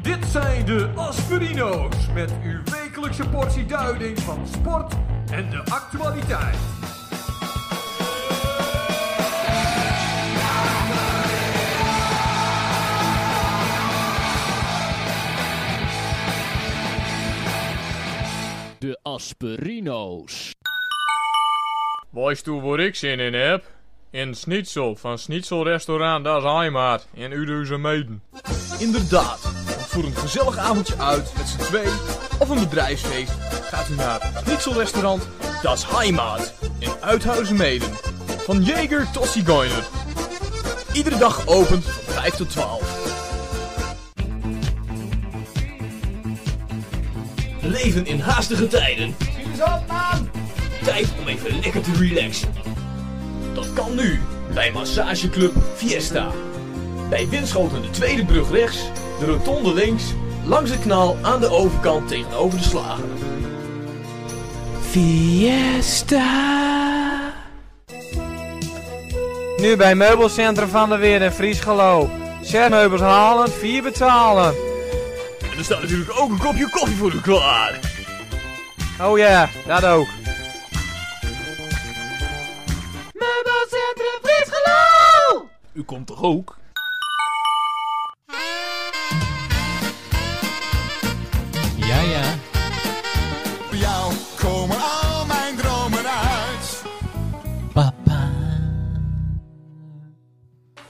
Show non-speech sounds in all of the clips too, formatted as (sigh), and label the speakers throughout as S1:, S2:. S1: bij de Aspirino's met uw wekelijkse portie duiding van sport en de actualiteit.
S2: De Asperino's.
S3: Boys, toe waar ik zin in heb. In Snitsel van Snitsel Restaurant Das Heimat in Uduze Meden.
S4: Inderdaad, want voor een gezellig avondje uit met z'n twee of een bedrijfsfeest gaat u naar het Schnitzelrestaurant Das Heimat in Uithuizen Meden. Van Jager tot Zigeuner. Iedere dag opent van 5 tot 12.
S5: Leven in haastige tijden. Tijd om even lekker te relaxen. Dat kan nu bij Massageclub Fiesta. Bij Winschoten de tweede brug rechts, de rotonde links, langs het kanaal aan de overkant tegenover de slager. Fiesta.
S6: Nu bij Meubelcentrum van de Weer in Friesgelo. Zes meubels halen, vier betalen.
S5: En er staat natuurlijk ook een kopje koffie voor u klaar.
S6: Oh ja, dat ook.
S5: U komt toch ook?
S2: Ja, ja.
S7: Op jou komen al mijn dromen uit.
S2: Papa.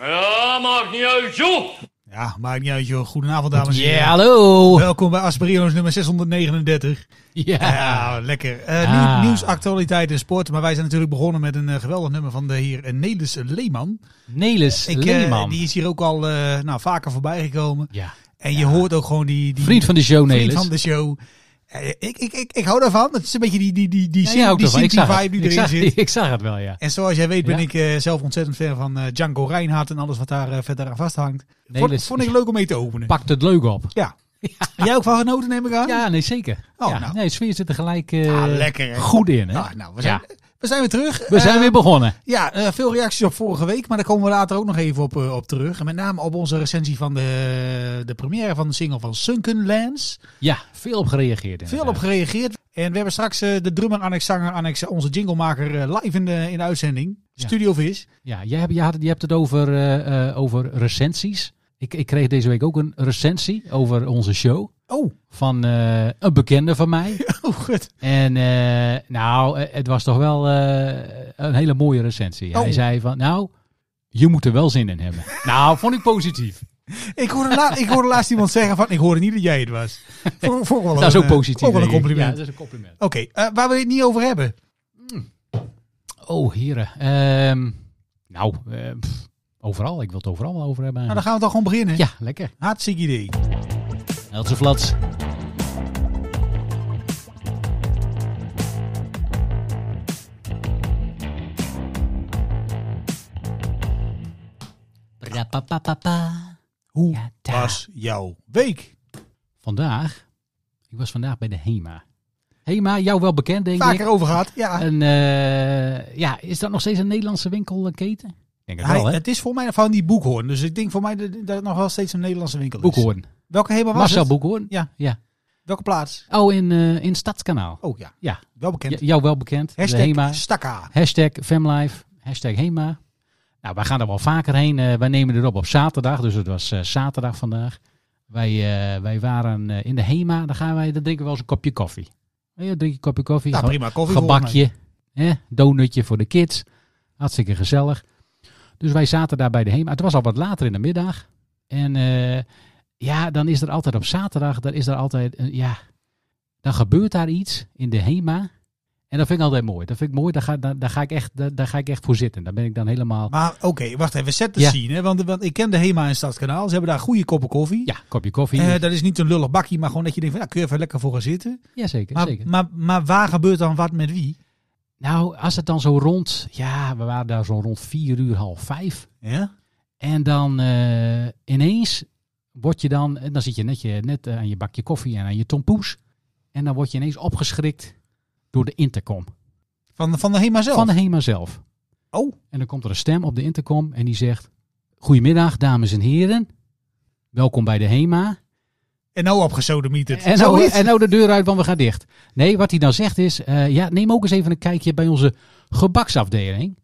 S3: Ja, maakt niet uit, joh!
S8: Ja, maakt niet uit joh. Goedenavond dames en
S2: Ja,
S8: heren.
S2: hallo.
S8: Welkom bij Asperio's nummer 639.
S2: (laughs) Ja.
S8: Ja, lekker. Eh,
S2: Ah.
S8: nieuw- nieuws, actualiteit en sport. Maar wij zijn natuurlijk begonnen met een eh, geweldig nummer van de heer eh, Nelis Leeman.
S2: Nelis
S8: Ik, eh,
S2: Leeman.
S8: die is hier ook al eh, nou, vaker voorbij gekomen.
S2: Ja.
S8: En je hoort ook gewoon die... die
S2: Vriend van de show,
S8: vriend
S2: Nelis.
S8: van de show. Eh, ik, ik, ik, ik hou daarvan. Het is een beetje die, die, die, die,
S2: Ja,
S8: die,
S2: jij ook
S8: die
S2: ervan. Ik zag
S8: Sinti-vibe
S2: het.
S8: die
S2: Ik
S8: erin
S2: zag-
S8: zit.
S2: (laughs) Ik zag het wel, ja.
S8: En zoals jij weet ben
S2: Ja.
S8: ik eh, zelf ontzettend fan van eh, Django Reinhardt en alles wat daar eh, verder aan vasthangt. Vond,
S2: Nelis-
S8: vond ik leuk om mee te openen.
S2: Pakt het leuk op. (laughs)
S8: Ja. Jij ook van genoten neem ik aan?
S2: Ja, nee, zeker.
S8: Oh,
S2: ja,
S8: nou.
S2: Nee, sfeer zit er gelijk eh,
S8: Ah, lekker, hè?
S2: goed in, hè?
S8: Ah, nou, we zijn,
S2: Ja.
S8: we zijn weer terug.
S2: We zijn
S8: Eh,
S2: weer begonnen.
S8: Ja, eh, veel reacties op vorige week, maar daar komen we later ook nog even op, eh, op terug. En met name op onze recensie van de, de première van de single van Sunken Lands.
S2: Ja, veel op gereageerd.
S8: Veel op gereageerd. En we hebben straks eh, de drummer Annex Zanger, Annex, eh, onze jinglemaker, eh, live in de, in de uitzending.
S2: Ja.
S8: Studio Vis.
S2: Ja, jij hebt, jij had, je hebt het over, eh, eh, over recensies. Ik, ik kreeg deze week ook een recensie over onze show.
S8: Oh, (laughs)
S2: Van eh, een bekende van mij.
S8: oh goed.
S2: En eh, nou, eh, het was toch wel eh, een hele mooie recensie. Hij
S8: Oh.
S2: zei van, nou, je moet er wel zin in
S8: (laughs)
S2: hebben. nou, vond ik
S8: Oh,
S2: positief.
S8: Ik hoorde, la- ik hoorde laatst iemand zeggen van, ik hoorde niet dat jij het was. Vond- vond ik wel
S2: Dat is
S8: een,
S2: ook
S8: eh,
S2: positief.
S8: Ook wel een
S2: denk ik. Ja,
S8: compliment.
S2: dat is een compliment.
S8: Oké, eh, waar we het niet over hebben.
S2: Oh, heren. Ehm, nou, eh, pff, overal. Ik wil het overal wel over hebben.
S8: Nou, dan
S2: eigenlijk.
S8: gaan we dan gewoon beginnen.
S2: Ja, lekker.
S8: Hartstikke idee.
S2: Helse Flats.
S8: Hoe
S2: Ja, daar.
S8: was jouw week?
S2: Vandaag, ik was vandaag bij de HEMA. HEMA, jou wel bekend denk ik.
S8: Vaker over gehad. Ja.
S2: En eh, ja, is dat nog steeds een Nederlandse winkelketen? Ik denk het
S8: Hij-
S2: Eh, wel, hè?
S8: het is voor mij van die Boekhoorn. Dus ik denk voor mij dat dat het nog wel steeds een Nederlandse winkel is.
S2: Boekhoorn.
S8: Welke helemaal was
S2: Marcel
S8: het?
S2: Boekhoorn.
S8: Ja.
S2: ja.
S8: Welke plaats?
S2: Oh, in, eh, in Stadskanaal.
S8: Oh ja,
S2: Ja,
S8: wel bekend.
S2: j- jou wel bekend.
S8: Hashtag
S2: de HEMA.
S8: Stakka. Nou,
S2: Hashtag Femlife. Hashtag HEMA. Nou, wij gaan er wel vaker heen. Eh, wij nemen het op op zaterdag. Dus het was eh, zaterdag vandaag. Wij, eh, wij waren eh, in de HEMA. Dan, gaan wij, dan drinken we wel eens een kopje koffie. Eh, drink je een kopje koffie.
S8: Nou,
S2: Gewoon-
S8: prima. Koffie volgens mij.
S2: gebakje, hè, donutje voor de kids. Hartstikke gezellig. Dus wij zaten daar bij de HEMA. Het was al wat later in de middag. En eh, ja, dan is er altijd op zaterdag, dan is er altijd, een- ja, dan gebeurt daar iets in de HEMA. En dat vind ik altijd mooi. Dat vind ik mooi, daar ga, daar, daar ga, ik, echt, daar, daar ga ik echt voor zitten. Daar ben ik dan helemaal...
S8: Maar oké, wacht even. Zet de
S2: Ja.
S8: scene. Hè? Want, want ik ken de Hema in Stadskanaal. Ze hebben daar goede koppen koffie.
S2: Ja, kopje koffie.
S8: Eh, dat is niet een lullig bakje, maar gewoon dat je denkt van, ja, kun je even lekker voor gaan zitten.
S2: ja, zeker,
S8: Maar,
S2: zeker.
S8: maar, maar waar gebeurt dan wat met wie?
S2: Nou, als het dan zo rond... Ja, we waren daar zo rond vier uur, half vijf.
S8: Ja?
S2: En dan eh, ineens word je dan, en dan zit je net, je, net eh, aan je bakje koffie en aan je tompoes. En dan word je ineens opgeschrikt door de intercom
S8: Van, van de Hema zelf?
S2: van de HEMA zelf.
S8: Oh.
S2: En dan komt er een stem op de intercom en die zegt: Goedemiddag, dames en heren. Welkom bij de HEMA.
S8: En nou opgesodemieterd.
S2: En nou,
S8: Zoiets.
S2: en nou de deur uit, want we gaan dicht. Nee, wat hij dan zegt is, eh, ja, neem ook eens even een kijkje bij onze gebaksafdeling.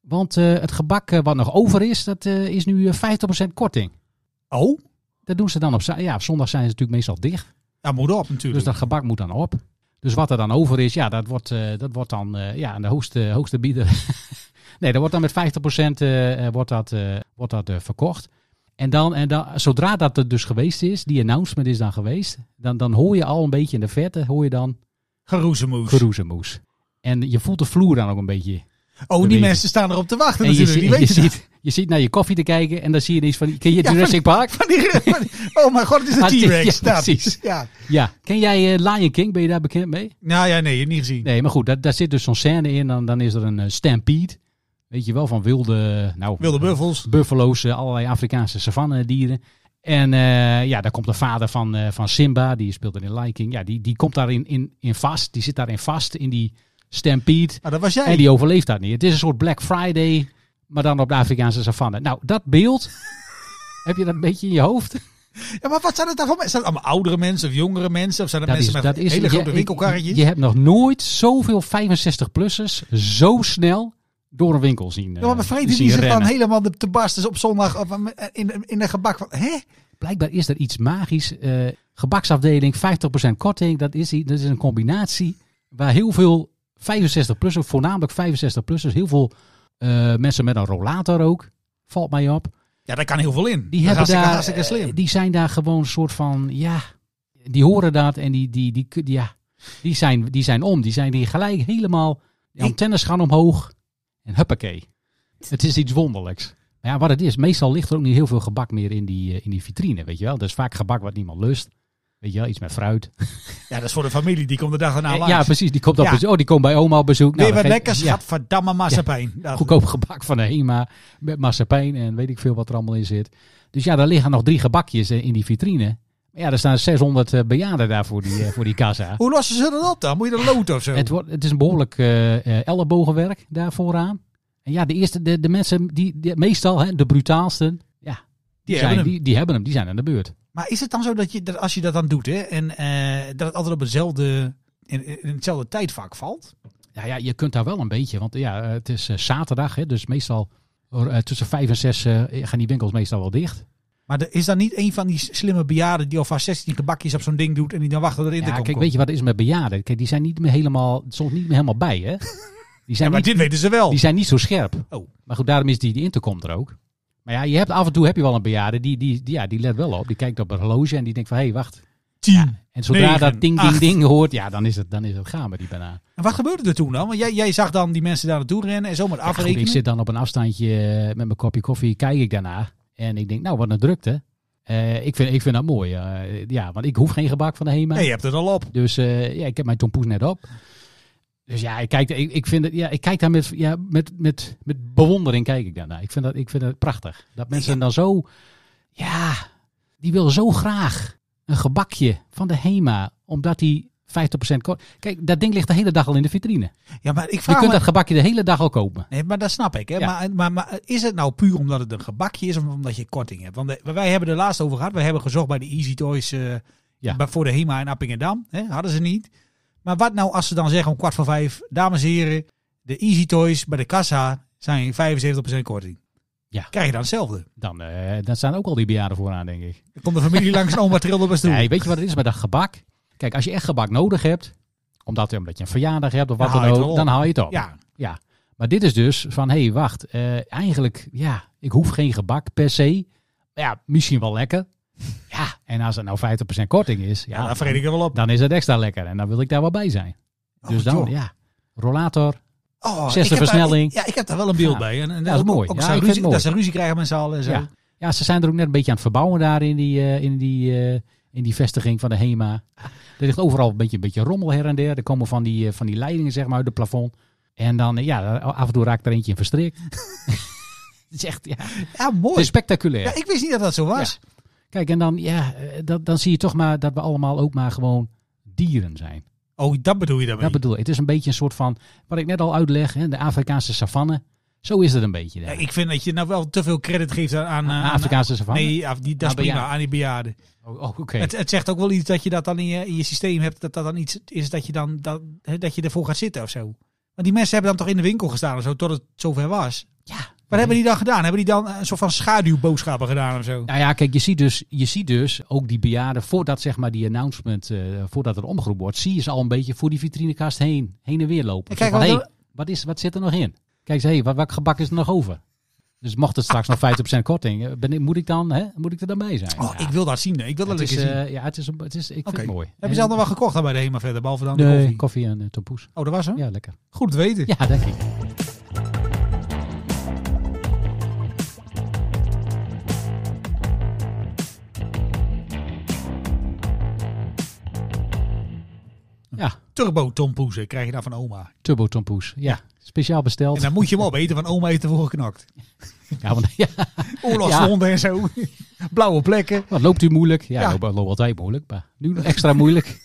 S2: Want eh, het gebak eh, wat nog over is, dat eh, is nu eh, 50% korting.
S8: Oh,
S2: Dat doen ze dan op, za- ja, op zondag zijn ze natuurlijk meestal dicht.
S8: dat moet op natuurlijk.
S2: Dus dat gebak moet dan op. Dus wat er dan over is, ja, dat wordt, eh, dat wordt dan eh, ja, aan de hoogste, hoogste bieder. (laughs) nee, dat wordt dan met 50% eh, eh, wordt dat, eh, wordt dat eh, verkocht. En, dan, en dan, zodra dat er dus geweest is, die announcement is dan geweest, dan, dan hoor je al een beetje in de verte, hoor je dan
S8: Geroezemoes.
S2: geroezemoes. En je voelt de vloer dan ook een beetje.
S8: oh, die
S2: weten.
S8: mensen staan erop te wachten
S2: en je,
S8: natuurlijk.
S2: zie-
S8: Die
S2: en je,
S8: weten dat.
S2: ziet, je ziet naar je koffie te kijken en dan zie je ineens van, ken je
S8: Ja,
S2: Jurassic Park?
S8: Van (laughs) die, van die- oh mijn god, het is
S2: (laughs) Ah,
S8: een
S2: die-
S8: T-Rex.
S2: ja,
S8: dat.
S2: precies.
S8: Ja.
S2: Ja. Ken jij eh, Lion King? Ben je daar bekend mee?
S8: Nou ja, nee, niet gezien.
S2: Nee, maar goed, daar, daar zit dus zo'n scène in. Dan, dan is er een eh, stampede. Weet je wel, van wilde, nou,
S8: Wilde buffels.
S2: buffalo's, eh, allerlei Afrikaanse savannedieren. En eh, ja, daar komt de vader van, eh, van Simba, die speelde in Lion King. Ja, die, die komt daarin in, in vast. Die zit daarin vast in die stampede.
S8: Maar Nou, dat was jij.
S2: En die overleeft dat niet. Het is een soort Black Friday, maar dan op de Afrikaanse savanne. Nou, dat beeld, (laughs) heb je dat een beetje in je hoofd?
S8: Ja, maar wat zijn het dan voor mensen? Zijn het allemaal oudere mensen of jongere mensen? Of zijn het mensen met hele
S2: je-
S8: grote
S2: je-
S8: winkelkarretjes?
S2: Je hebt nog nooit zoveel 65-plussers zo snel door een winkel zien.
S8: Ja, maar
S2: eh,
S8: vreten
S2: zien
S8: die zich dan
S2: rennen.
S8: helemaal de- te barsten op zondag of eh, in, in een gebak. Van, hè?
S2: Blijkbaar is er iets magisch. eh, gebaksafdeling, 50% korting. Dat is, i- dat is een combinatie waar heel veel 65-plussers, voornamelijk 65-plussers, heel veel eh, mensen met een rollator ook, valt mij op.
S8: Ja, daar kan heel veel in.
S2: Die,
S8: dat
S2: hebben
S8: is hartstikke,
S2: daar,
S8: hartstikke slim.
S2: eh, die zijn daar gewoon een soort van, ja, die horen dat en die, die, die, die- ja, die, zijn, die zijn om. Die zijn hier gelijk helemaal, de antennes gaan omhoog en huppakee. Het is iets wonderlijks. Maar ja, wat het is, meestal ligt er ook niet heel veel gebak meer in die, eh, in die vitrine, weet je wel. Dat is vaak gebak wat niemand lust. Weet je wel, iets met fruit.
S8: ja, dat is voor de familie. Die komt de dag
S2: Eh,
S8: daarna langs.
S2: ja, precies. Die komt, op
S8: Nou, Ja.
S2: bezoek. Oh, die komt bij oma op bezoek.
S8: Weer
S2: dan
S8: wat
S2: geef-
S8: lekkers.
S2: ja,
S8: Gadverdamme massapijn. Ja,
S2: goedkoop gebak van de HEMA met massapijn en weet ik veel wat er allemaal in zit. Dus ja, daar liggen nog drie gebakjes eh, in die vitrine. Maar ja, er staan 600 eh, bejaarden daar voor die, eh, voor die
S8: (laughs)
S2: kassa.
S8: Hoe lossen ze dat op dan? Moet je dat loten of zo?
S2: Het, wordt, het is een behoorlijk eh, eh, ellebogenwerk daar vooraan. En ja, de eerste, de, de mensen, die, die- meestal hè, de brutaalsten, ja, die,
S8: hebben
S2: zijn,
S8: hem.
S2: die, die hebben hem, die zijn aan de beurt.
S8: Maar is het dan zo dat, je, dat als je dat dan doet hè, en eh, dat het altijd op hetzelfde, in, in hetzelfde tijdvak valt?
S2: Nou ja, je kunt daar wel een beetje, want ja, eh, het is eh, zaterdag, hè, dus meestal eh, tussen vijf en zes eh, gaan die winkels meestal wel dicht.
S8: Maar er is dan niet een van die slimme bejaarden die alvast 16 gebakjes op zo'n ding doet en die dan wachten dat er in te
S2: Ja,
S8: komen
S2: kijk,
S8: komt?
S2: weet je wat het is met bejaarden? Kijk, die zijn niet meer helemaal, soms niet meer helemaal bij,
S8: (laughs)
S2: hè? Die
S8: ja,
S2: zijn,
S8: maar
S2: niet,
S8: dit weten ze wel.
S2: die zijn niet zo scherp.
S8: Oh.
S2: Maar goed, daarom is die, die intercom er ook. Maar ja, je hebt, af en toe heb je wel een bejaarde, die, die, die, ja, die let wel op. Die kijkt op een horloge en die denkt van, hé, hey, wacht.
S8: Tien.
S2: En zodra
S8: Negen,
S2: dat ding, ding,
S8: acht.
S2: ding hoort, ja, dan is het, dan is het gaan met die banaan.
S8: En wat gebeurde er toen dan? Want jij, jij zag dan die mensen daar naartoe rennen en zomaar
S2: Ja, goed,
S8: afrekenen.
S2: ik zit dan op een afstandje eh, met mijn kopje koffie, kijk ik daarna. En ik denk, nou, wat een drukte. Eh, ik, vind, ik vind dat mooi. eh, ja, want ik hoef geen gebak van de HEMA.
S8: Nee, je hebt het al op.
S2: Dus eh, ja, ik heb mijn tompoes net op. Dus ja, ik kijk, ik, ik vind het, ja, ik kijk daar met, ja, met, met, met bewondering kijk ik daarnaar. Ik vind dat, ik vind dat prachtig. Dat mensen dan zo, ja, die willen zo graag een gebakje van de HEMA, omdat die 50% kort. Kijk, dat ding ligt de hele dag al in de vitrine.
S8: Ja, Ah, maar ik
S2: Je
S8: vraag
S2: kunt
S8: me...
S2: dat gebakje de hele dag al kopen.
S8: Nee, maar dat snap ik. Hè?
S2: Ja.
S8: Maar, maar, maar is het nou puur omdat het een gebakje is of omdat je korting hebt? Want eh, wij hebben er laatst over gehad. Wij hebben gezocht bij de Easy Toys eh,
S2: Ja.
S8: bij- voor de HEMA in Appingedam. Hè? Hadden ze niet. Maar wat nou als ze dan zeggen om kwart voor vijf. Dames en heren, de Easy Toys bij de kassa zijn 75% korting.
S2: Ja.
S8: Krijg je dan hetzelfde?
S2: Dan, eh, dan staan ook al die bejaarden vooraan, denk ik.
S8: Dan komt de familie langs en oma trilde op een stoel.
S2: Nee, weet je wat het is met dat gebak? Kijk, als je echt gebak nodig hebt, omdat, omdat je een verjaardag hebt of
S8: Dan
S2: wat dan,
S8: haal je het
S2: ook,
S8: wel op.
S2: dan haal je het op.
S8: Ja,
S2: Ja, maar dit is dus van, hé, hey, wacht, eh, eigenlijk, ja, ik hoef geen gebak per se. Maar ja, misschien wel
S8: (laughs)
S2: lekker. Ja, en als het nou 50% korting is, ja,
S8: ja, dat
S2: dan,
S8: vreet ik er wel op.
S2: dan is het extra lekker. En dan wil ik daar wel bij zijn. dus dan,
S8: Oh, joh.
S2: ja, rollator.
S8: Oh,
S2: Zesde
S8: ik heb daar-
S2: versnelling.
S8: ja, ik heb daar wel een beeld
S2: Ja.
S8: bij. En, en
S2: Ja, dat is
S8: ook-
S2: mooi.
S8: Ook
S2: Ja,
S8: ze
S2: ik vind
S8: ruzie,
S2: het mooi.
S8: dat ze ruzie krijgen met z'n allen en zo.
S2: Ja. ja, ze zijn er ook net een beetje aan het verbouwen daar in die, eh, in die, eh, in die vestiging van de
S8: (laughs)
S2: HEMA. Er ligt overal een beetje, een beetje rommel her en der. Er komen van die, eh, van die leidingen zeg maar uit het plafond. En dan, eh, ja, af en toe raakt er eentje in
S8: (laughs)
S2: verstrikt. (laughs) Het is echt, ja, het
S8: Ja, mooi.
S2: is spectaculair.
S8: Ja, ik wist niet dat dat zo was.
S2: Kijk, en dan, ja, eh, dat, dan zie je toch maar dat we allemaal ook maar gewoon dieren zijn.
S8: Oh, dat bedoel je daarmee?
S2: Dat bedoel ik. Het is een beetje een soort van, wat ik net al uitleg, hè, de Afrikaanse savanne. Zo is het een beetje.
S8: Ja,
S2: denk ik.
S8: ik vind dat je nou wel te veel credit geeft aan... aan,
S2: Aan
S8: aan-
S2: Afrikaanse savannen?
S8: eh, Nee, af- die, dat is
S2: Aan
S8: prima,
S2: bejaarden.
S8: aan die bejaarden.
S2: Oh, oh, oké.
S8: Het, het zegt ook wel iets dat je dat dan in je, in je systeem hebt. Dat dat dan iets is dat je, dan, dat, hè, dat je ervoor gaat zitten of zo. Maar die mensen hebben dan toch in de winkel gestaan of zo, tot het zover was.
S2: Ja.
S8: Wat hebben die dan gedaan? Hebben die dan eh, een soort van schaduwboodschappen gedaan of zo?
S2: Nou ja, kijk, je ziet dus, je ziet dus ook die bejaarden, voordat zeg maar die announcement, eh, voordat er omgeroepen wordt, zie je ze al een beetje voor die vitrinekast heen, heen en weer lopen.
S8: Ja, kijk,
S2: Zo van,
S8: wat-
S2: hey, wat, is, wat zit er nog in? Kijk eens, hey, wat, wat gebak is er nog over? Dus mocht het straks nog 50% korting, eh, ben, ik- moet, ik dan, hè, moet ik er dan bij zijn?
S8: Oh,
S2: Ja.
S8: ik wil dat zien. hè. Ik wil dat
S2: het is,
S8: lekker zien.
S2: eh, ja, het is, een- het is, ik vind
S8: Oké.
S2: het mooi.
S8: Hebben ze dan wel gekocht dan bij de HEMA verder, behalve dan de
S2: Nee,
S8: koffie?
S2: koffie? en uh, tompoes.
S8: Oh, dat was hem?
S2: Ja, lekker.
S8: Goed te weten.
S2: Ja, denk ik. Ja,
S8: Turbo tompoezen krijg je daar van oma.
S2: turbo tompoes. Ja, speciaal
S8: En
S2: besteld.
S8: dan moet je hem opeten, want oma heeft ervoor geknakt.
S2: Ja, want, (laughs) ja,
S8: Oorlogswonden en
S2: (laughs)
S8: zo. Blauwe plekken.
S2: want loopt u moeilijk? Ja,
S8: Ja.
S2: Loopt, loopt altijd moeilijk, maar nu nog extra
S8: (laughs)
S2: moeilijk.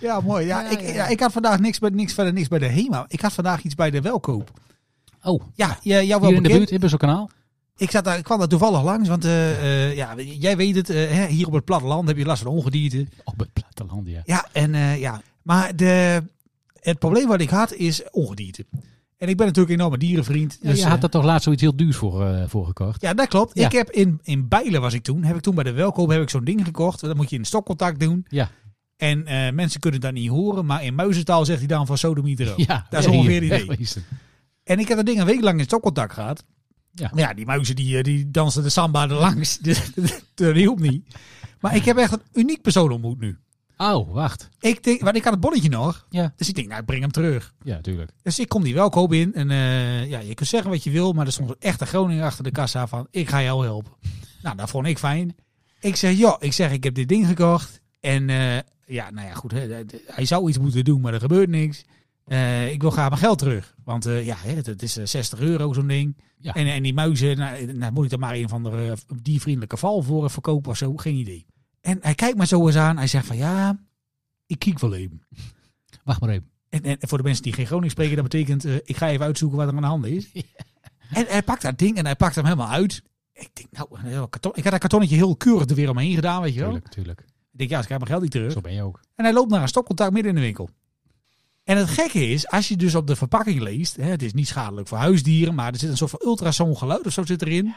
S8: Ja, mooi. Ja,
S2: Ja,
S8: ik,
S2: ja.
S8: ja, ik had vandaag niks, bij, niks verder niks bij de HEMA. Ik had vandaag iets bij de Welkoop.
S2: Oh,
S8: Ja, ja jou wel
S2: hier in de
S8: bekend.
S2: buurt, in Busselkanaal?
S8: Ik, zat daar, ik kwam daar toevallig langs, want eh, eh, ja, jij weet het. eh, hè, hier op het platteland heb je last van ongedierte.
S2: Op het platteland, ja.
S8: Ja, en eh, ja. Maar de, het probleem wat ik had is ongedierte. En ik ben natuurlijk een enorme dierenvriend.
S2: Ja,
S8: dus,
S2: je
S8: eh,
S2: had er toch laatst zoiets heel duurs voor, eh, voor gekocht?
S8: Ja, dat klopt.
S2: Ja.
S8: Ik heb in, in Bijlen was ik toen. Heb ik toen bij de welkoop heb ik zo'n ding gekocht. Dat moet je in stokcontact doen.
S2: Ja.
S8: En eh, mensen kunnen dat niet horen. Maar in muizentaal zegt hij dan van sodomieter ook.
S2: Ja,
S8: dat is
S2: ja,
S8: ongeveer
S2: hier.
S8: het idee.
S2: Echt wezen.
S8: En ik heb dat ding een week lang in stokcontact gehad.
S2: Ja.
S8: Maar ja, die muizen die, eh, die dansen de samba er langs. (laughs) Dus dat hielp niet. Maar ik heb echt een uniek persoon ontmoet nu.
S2: Oh, wacht.
S8: Ik denk, want ik had het bonnetje nog.
S2: Ja,
S8: Dus ik denk, nou ik breng hem terug.
S2: ja, tuurlijk.
S8: Dus ik kom die welkoop in. En eh, ja, je kunt zeggen wat je wil, maar er stond een echte Groninger achter de kassa van, ik ga jou helpen. Nou, dat vond ik fijn. Ik zeg, joh, ik zeg, ik heb dit ding gekocht. En eh, ja, nou ja, goed, hè, d- d- hij zou iets moeten doen, maar er gebeurt niks. Eh, ik wil graag mijn geld terug. Want eh, ja, hè, het is eh, 60 euro zo'n ding.
S2: Ja.
S8: En, en die muizen, nou, nou moet ik er maar een van de diervriendelijke val voor verkopen of zo. Geen idee. En hij kijkt me zo eens aan. Hij zegt van, ja, ik kiek wel even.
S2: Wacht maar even.
S8: En, en voor de mensen die geen Groningen spreken, dat betekent eh, ik ga even uitzoeken wat er aan de hand
S2: (laughs)
S8: is. En hij pakt dat ding en hij pakt hem helemaal uit. Ik denk, nou, een heel karton. ik had dat kartonnetje heel keurig er weer omheen gedaan, weet je wel.
S2: Tuurlijk, tuurlijk.
S8: Ik denk, ja, ik krijg mijn geld niet terug.
S2: Zo ben je ook.
S8: En hij loopt naar een stopcontact midden in de winkel. En het gekke is, als je dus op de verpakking leest, hè, het is niet schadelijk voor huisdieren, maar er zit een soort van ultrasoongeluid of zo zit erin.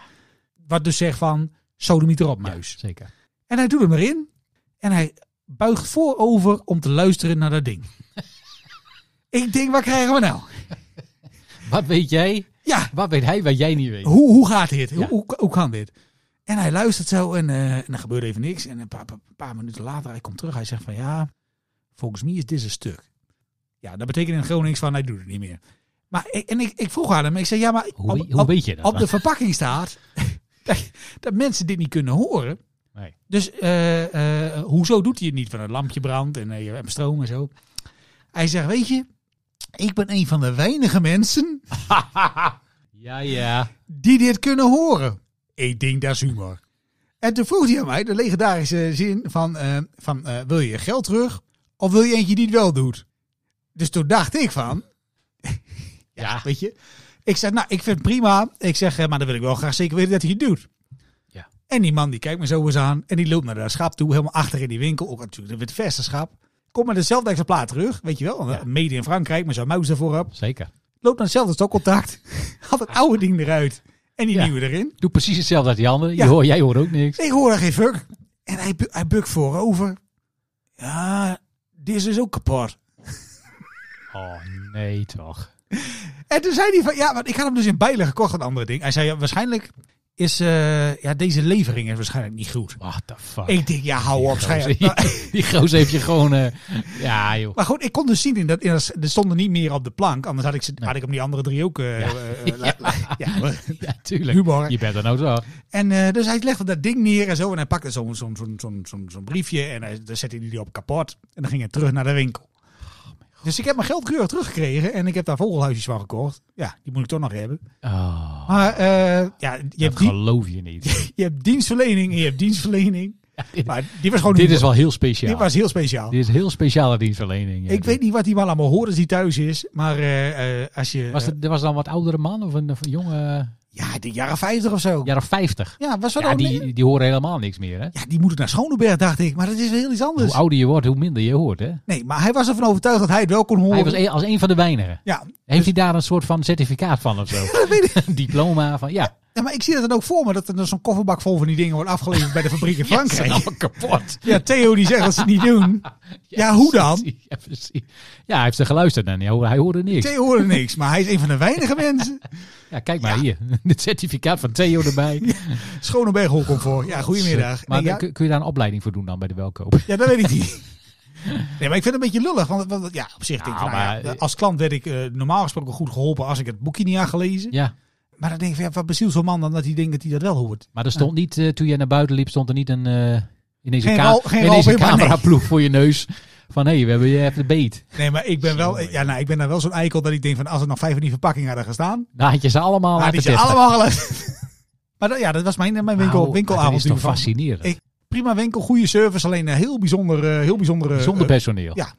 S8: Wat dus zegt van, sodomiet erop muis.
S2: Ja, zeker.
S8: En hij doet hem erin. En hij buigt voorover om te luisteren naar dat
S2: (laughs)
S8: ding. ik denk, wat krijgen we nou?
S2: Wat weet jij?
S8: Ja,
S2: Wat weet hij wat jij niet weet?
S8: hoe, hoe gaat dit? Hoe,
S2: Ja.
S8: hoe, hoe kan dit? En hij luistert zo en, eh en er gebeurt even niks. En een paar, paar, paar minuten later, hij komt terug. Hij zegt van ja, volgens mij is dit een stuk. Ja, dat betekent in het Gronings van hij doet het niet meer. Maar ik, en ik, ik vroeg aan hem, ik zei ja, maar
S2: Hoe,
S8: op-
S2: we- hoe
S8: op-
S2: weet je dat?
S8: op de verpakking staat (laughs) dat, dat mensen dit niet kunnen horen.
S2: Nee.
S8: Dus eh, eh, hoezo doet hij het niet? Van een lampje brandt en eh, je hebt stroom en zo. Hij zegt, weet je, ik ben een van de weinige mensen
S2: Ja, ja.
S8: die dit kunnen horen. Ik denk, dat is humor. En toen vroeg hij aan mij de legendarische zin van, eh, van eh, wil je je geld terug of wil je eentje die het wel doet? Dus toen dacht ik van,
S2: Ja.
S8: Weet je? Ik zeg, nou, ik vind het prima. Ik zeg, eh, maar dan wil ik wel graag zeker weten dat hij het doet.
S2: Ja.
S8: En die man die kijkt me zo eens aan. En die loopt naar dat schap toe, helemaal achter in die winkel. Ook natuurlijk het verse schap. Komt met hetzelfde exemplaar terug, weet je wel.
S2: Ja.
S8: Mede in Frankrijk, maar zo'n muis ervoor op.
S2: Zeker.
S8: Loopt naar hetzelfde stokcontact. (laughs) Had het oude ding eruit. En die
S2: Ja.
S8: nieuwe erin.
S2: Doe precies hetzelfde als die anderen. Je
S8: Ja.
S2: hoort- jij hoort ook niks.
S8: Ik hoor daar geen fuck. En hij, bu- hij bukt voorover. Ja, dit is dus ook kapot.
S2: Oh, nee toch.
S8: En toen zei hij van, ja, want ik had hem dus in Bijlen gekocht, een andere ding. Hij zei, ja, waarschijnlijk is, eh, ja, deze levering is waarschijnlijk niet goed.
S2: What the fuck.
S8: Ik denk, ja, hou op,
S2: gozer,
S8: schijf.
S2: die, (laughs) die goos heeft je gewoon... eh,
S8: (laughs)
S2: ja, joh.
S8: Maar goed, ik kon dus zien, in dat, in dat, er stonden niet meer op de plank. Anders had ik, ze, had ik hem die andere drie ook... eh, eh,
S2: (laughs)
S8: eh, la- la- ja, maar-
S2: Ja, tuurlijk.
S8: humor.
S2: Je bent er nou zo.
S8: En eh, dus hij legde dat ding neer en zo. En hij pakte zo'n zo'n zo'n zo'n zo'n- zo'n briefje en hij, daar zette hij die op kapot. En dan ging hij terug naar de winkel.
S2: Oh
S8: Dus ik heb mijn geld keurig teruggekregen en ik heb daar vogelhuisjes van gekocht. Ja, die moet ik toch nog hebben.
S2: Oh,
S8: Maar eh, ja, je hebt,
S2: dat
S8: die,
S2: geloof je niet. (laughs)
S8: je hebt dienstverlening en je hebt dienstverlening. Maar die was (laughs) gewoon
S2: Dit is wel heel speciaal.
S8: die was heel speciaal.
S2: Dit is heel speciale dienstverlening. ja.
S8: ik weet niet wat die man allemaal hoort als die thuis is. Maar eh, eh, als je...
S2: Was
S8: eh,
S2: het, er was dan wat oudere man of een, of een jonge,
S8: ja, de jaren 50 of zo. Ja,
S2: jaren 50?
S8: was dat
S2: Ja,
S8: ook
S2: die, die horen helemaal niks meer. Hè?
S8: Ja, die moet naar Schoneberg, dacht ik. Maar dat is weer heel iets
S2: Hoe
S8: anders.
S2: ouder je wordt, hoe minder je hoort. Hè?
S8: Nee, maar hij was ervan overtuigd dat hij het wel kon horen.
S2: Hij was een- als een van de weinigen.
S8: Ja, (laughs)
S2: Heeft hij daar een soort van certificaat van of zo?
S8: dat weet ik.
S2: Een
S8: (laughs)
S2: diploma van, ja.
S8: Ja, maar ik zie dat dan ook voor me, dat er dan zo'n kofferbak vol van die dingen wordt afgeleverd bij de fabriek in
S2: (laughs)
S8: Frankrijk. Ja,
S2: kapot.
S8: Theo die zegt dat ze het niet
S2: (laughs)
S8: doen. Ja, hoe dan?
S2: Ja, precies. Ja, hij heeft er geluisterd en hij hoorde, hij hoorde niks.
S8: Theo hoorde niks, maar hij is een van de weinige mensen.
S2: Ja, kijk maar hier. (laughs) Het certificaat van Theo erbij.
S8: (laughs) Schoneberg voor. Ja, goedemiddag.
S2: Maar
S8: Nee, ja,
S2: kun kun je daar een opleiding voor doen dan bij de welkoop?
S8: ja, dat weet ik niet. (laughs) Nee, maar ik vind het een beetje lullig, want, want ja, op zich denk ik,
S2: Nou,
S8: nou ja,
S2: maar-
S8: als klant werd ik eh, normaal gesproken goed geholpen als ik het boekje niet had gelezen.
S2: Ja,
S8: Maar dan denk ik, van, ja, wat bezielt zo'n man dan dat hij denkt dat hij dat wel hoort?
S2: maar er stond niet, eh, toen jij naar buiten liep, stond er niet een, eh in deze,
S8: Geen
S2: ka-
S8: Ralf- geen
S2: in deze
S8: Ralf Heerma,
S2: cameraploeg voor je neus. Van, hé, hey, we hebben je even beet.
S8: Nee, maar ik ben wel, ja, nou, ik ben daar wel zo'n eikel dat ik denk van als er nog vijf in die verpakking hadden gestaan,
S2: Daar Nou, had je ze allemaal
S8: Maar Nou,
S2: laten
S8: die zijn
S2: testen.
S8: allemaal geluisterd. (laughs) maar dat, ja, dat was mijn, mijn winkel,
S2: Nou,
S8: winkelavond.
S2: Dat is toch
S8: hiervan.
S2: fascinerend.
S8: Ik- Prima winkel, goede service, alleen eh, heel bijzonder. eh, heel bijzonder eh,
S2: Zonder
S8: eh,
S2: personeel.
S8: ja.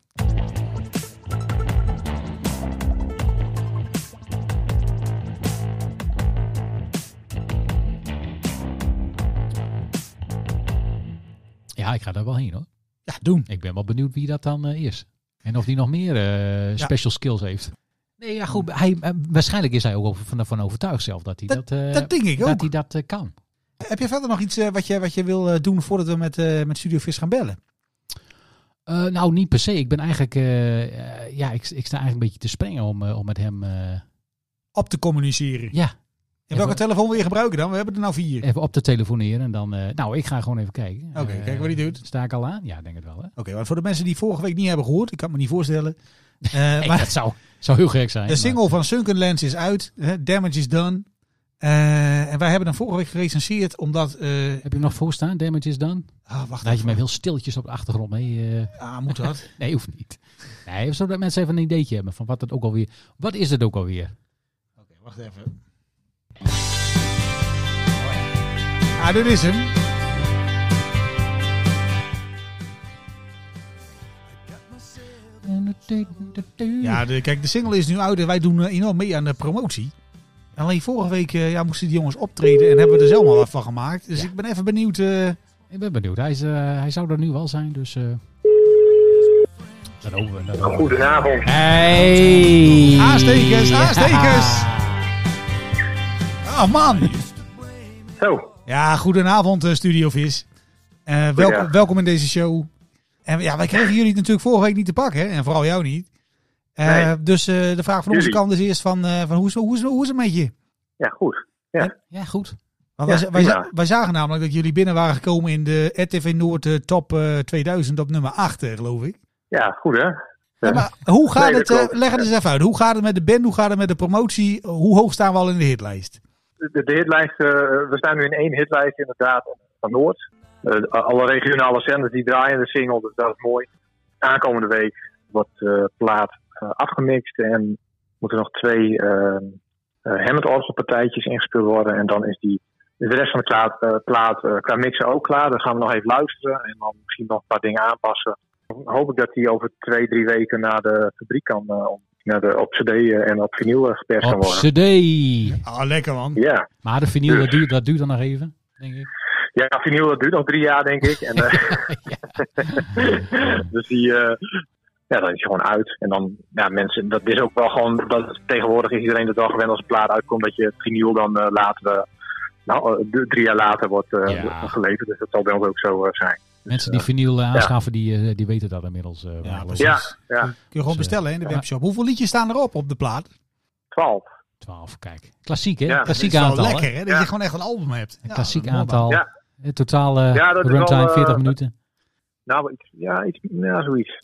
S2: Ja, ik ga daar wel heen hoor.
S8: ja, doen.
S2: Ik ben wel benieuwd wie dat dan eh, is. En of die nog meer eh, special skills heeft. Nee, ja goed. Hij, eh, waarschijnlijk is hij ook over- van, van overtuigd zelf dat hij dat, eh,
S8: dat denk ik
S2: dat,
S8: ook.
S2: hij dat eh, kan.
S8: Heb je verder nog iets eh, wat, je, wat je wil eh, doen voordat we met, eh, met Studio Vis gaan bellen?
S2: Eh, nou, niet per se. Ik ben eigenlijk, eh, eh, ja, ik, ik sta eigenlijk een beetje te springen om, eh, om met hem eh,
S8: Op te communiceren.
S2: ja,
S8: En welke
S2: Even-
S8: telefoon wil je gebruiken dan? We hebben er nou vier. Oké,
S2: even op te telefoneren. En dan, eh, nou, ik ga gewoon even kijken.
S8: Oké,
S2: Eh,
S8: kijken wat hij doet.
S2: Sta ik al aan? Ja, ik denk het wel. Hè?
S8: maar voor de mensen die vorige week niet hebben gehoord, ik kan het me niet
S2: (laughs)
S8: voorstellen. Eh,
S2: Nee,
S8: maar
S2: dat zou, zou heel gek zijn.
S8: de
S2: maar-
S8: single van Sunken Lens is uit. hè, Damage is done. Eh, en wij hebben hem vorige week gerecenseerd omdat... eh,
S2: Heb je hem nog voor staan? Damage is done?
S8: ah, wacht
S2: Dan had je
S8: even.
S2: mij heel stiltjes op de achtergrond mee. eh,
S8: Ah, moet dat?
S2: (laughs) Nee, hoeft niet. Nee, zodat mensen even een ideetje hebben van wat dat ook alweer. Wat is het ook alweer?
S8: Oké, wacht even. Ah, dit is hem. Ja, de, kijk, de single is nu uit en wij doen eh, enorm mee aan de promotie. Alleen vorige week eh, ja, moesten die jongens optreden en hebben we er zelf maar wat van gemaakt. Dus ik ben even benieuwd. eh,
S2: Ik ben benieuwd. Hij, is, eh, hij zou er nu wel zijn, dus. eh dat hopen we. Dat hopen we.
S9: Goedenavond.
S2: Hey!
S8: Aanstekers,
S2: Ja.
S8: aanstekers! Ah, man!
S9: Zo,
S8: Ja, goedenavond, eh, Studio Vis. Eh, welkom,
S9: Goedendag.
S8: welkom in deze show. En ja, wij kregen jullie natuurlijk vorige week niet te pakken, hè? en vooral jou niet. Eh,
S9: Nee.
S8: Dus eh, de vraag van onze
S9: Jullie.
S8: kant is eerst van, eh, van hoe, is, hoe, is, hoe is het met je?
S9: ja goed.
S2: Ja, goed.
S8: Want
S9: Ja,
S8: wij, za- wij,
S9: prima.
S8: za- wij zagen namelijk dat jullie binnen waren gekomen in de RTV Noord eh, Top eh, 2000 op nummer 8, eh, geloof ik.
S9: Ja, goed hè?
S8: Ja, (laughs) maar hoe gaat
S9: Nee, dat
S8: het, eh,
S9: klopt.
S8: leg het eens even uit, hoe gaat het met de band, hoe gaat het met de promotie, hoe hoog staan we al in de hitlijst?
S9: De, de hitlijst, eh, we staan nu in één hitlijst inderdaad van Noord. Eh, alle regionale zenders die draaien de single, dus dat is mooi. Aankomende week wordt eh plaat eh, afgemixt en moeten nog twee uh, Hammond orgelpartijtjes ingespeeld worden. En dan is die, is de rest van de plaat, eh, plaat eh, qua mixen ook klaar. Dan gaan we nog even luisteren en dan misschien nog een paar dingen aanpassen. Dan hoop ik dat die over twee, drie weken naar de fabriek kan, eh, om- naar de, op cd en op vinyl eh, geperst kan
S2: Op
S9: worden.
S2: CD.
S8: Ah, lekker man.
S9: Ja.
S2: Maar de vinyl, dat duurt, dat duurt dan nog even, denk ik.
S9: Ja, vinyl dat duurt nog drie jaar, denk ik. En, eh, (laughs) dus die, eh, ja, dan is je gewoon uit. En dan, ja, mensen, dat is ook wel gewoon, dat, tegenwoordig is iedereen het wel gewend als een plaat uitkomt, dat je het vinyl dan eh, later, eh, nou, eh, d- drie jaar later wordt, eh,
S2: Ja.
S9: wordt geleverd. Dus dat zal bij ons ook zo eh, zijn.
S2: Mensen die vinyl eh, aanschaffen, die, eh, die weten dat inmiddels. eh, wel.
S8: precies.
S9: Ja, ja,
S8: Kun je gewoon
S2: Dus, eh,
S8: bestellen hè, in de
S2: ja.
S8: webshop. Hoeveel liedjes staan erop op de plaat?
S9: 12.
S2: 12, kijk. Klassiek, hè?
S9: Ja, dat
S2: klassiek
S8: Dat is wel
S2: aantal. hè?
S8: lekker, hè? Dat je
S9: Ja.
S8: gewoon echt een album hebt.
S2: Een
S8: Ja,
S2: klassiek
S8: dat is mooi,
S2: aantal.
S9: Ja.
S2: Eh, Totaal eh,
S9: Ja, dat is wel,
S2: runtime
S9: eh,
S2: 40 minuten.
S9: Nou, iets, ja, iets, ja, zoiets.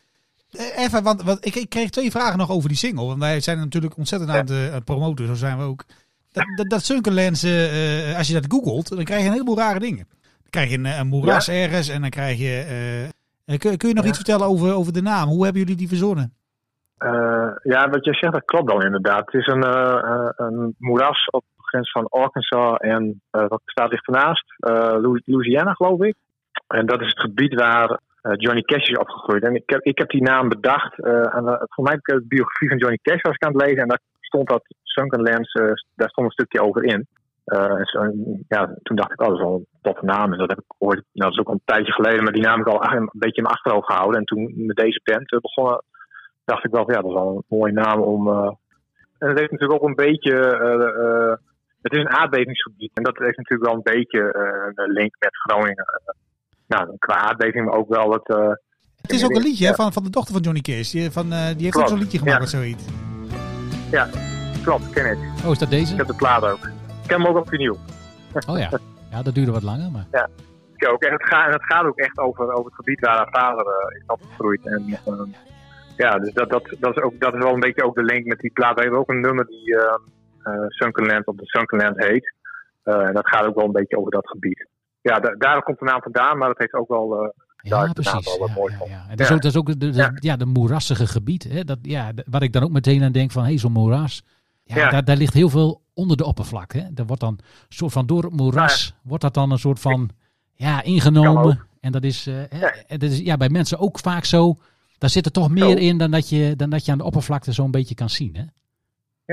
S8: man. Eh, Even, want, want ik, ik kreeg twee vragen nog over die single. Want wij zijn natuurlijk ontzettend aan het eh, aan het promoten, zo zijn we ook. Dat, dat, dat Sunkerlands, eh, eh, als je dat googelt, dan krijg je een heleboel rare dingen. Dan krijg je een, eh, een moeras ergens en dan krijg je... eh, eh, kun, kun je nog
S9: Ja.
S8: iets vertellen over, over de naam? Hoe hebben jullie die verzonnen?
S9: Eh, ja, wat je zegt, dat klopt dan inderdaad. Het is een, eh, eh, een moeras op de grens van Arkansas en eh, wat staat ligt ernaast? Eh, Lou- Louisiana, geloof ik. En dat is het gebied waar eh, Johnny Cash is opgegroeid. En ik heb, ik heb die naam bedacht. eh aan, de- voor mij heb ik de biografie van Johnny Cash was ik aan het lezen. En daar stond dat Sunken Lands, eh, daar stond een stukje over in. Eh, en zo- en ja, toen dacht ik, oh, dat is wel een toffe naam. En dat heb ik ooit, nou, dat is ook al een tijdje geleden, maar die naam heb ik al ach- een beetje in mijn achterhoofd gehouden. En toen met deze band eh, begonnen, dacht ik wel, van, ja, dat is wel een mooie naam om. eh, en het heeft natuurlijk ook een beetje. eh, eh, het is een aardbevingsgebied. En dat heeft natuurlijk wel een beetje eh, een link met Groningen. Eh, nou, qua aardbeving, maar ook wel het. eh,
S8: Het is ook een liedje hè, van, van de dochter van Johnny Cash. Die, van, eh, die heeft
S9: Klopt,
S8: ook zo'n liedje gemaakt
S9: ja.
S8: of zoiets.
S9: ja, klopt, ken ik.
S2: Oh, is dat
S9: Ik
S2: deze?
S9: heb de plaat ook. Ik ken hem ook op vinyl.
S2: Oh ja. Ja, dat duurde wat langer, maar...
S9: Ja, ook. En het, gaat, en het gaat ook echt over, over het gebied waar haar vader eh, is opgegroeid. En, ehm, ja, dus dat, dat, dat, is ook, dat is wel een beetje ook de link met die plaat. We hebben ook een nummer die ehm eh, Sunken Land op de Sunken Land heet. Eh, en dat gaat ook wel een beetje over dat gebied. Ja, da- daar komt de naam vandaan, maar dat heeft ook wel... eh, daar
S2: Ja,
S9: is de naam
S2: precies.
S9: wel wat
S2: Ja,
S9: mooi
S2: ja,
S9: van.
S2: ja. En dat is
S9: Ja.
S2: ook, dat is ook de, de- ja.
S9: Ja.
S2: de moerassige gebied. Hè? Dat, ja, d- waar ik dan ook meteen aan denk van, hé, zo'n moeras. Ja,
S9: Ja.
S2: Daar, daar ligt heel veel onder de oppervlakte. Hè? Daar wordt dan een soort van door het moeras, wordt dat dan een soort van, ja,
S9: Kan
S2: ingenomen. En dat is, eh, hè, en dat is ja, bij mensen ook vaak zo. Daar zit er toch meer
S9: Zo.
S2: in dan dat, je, dan dat je aan de oppervlakte zo'n beetje kan zien. Hè?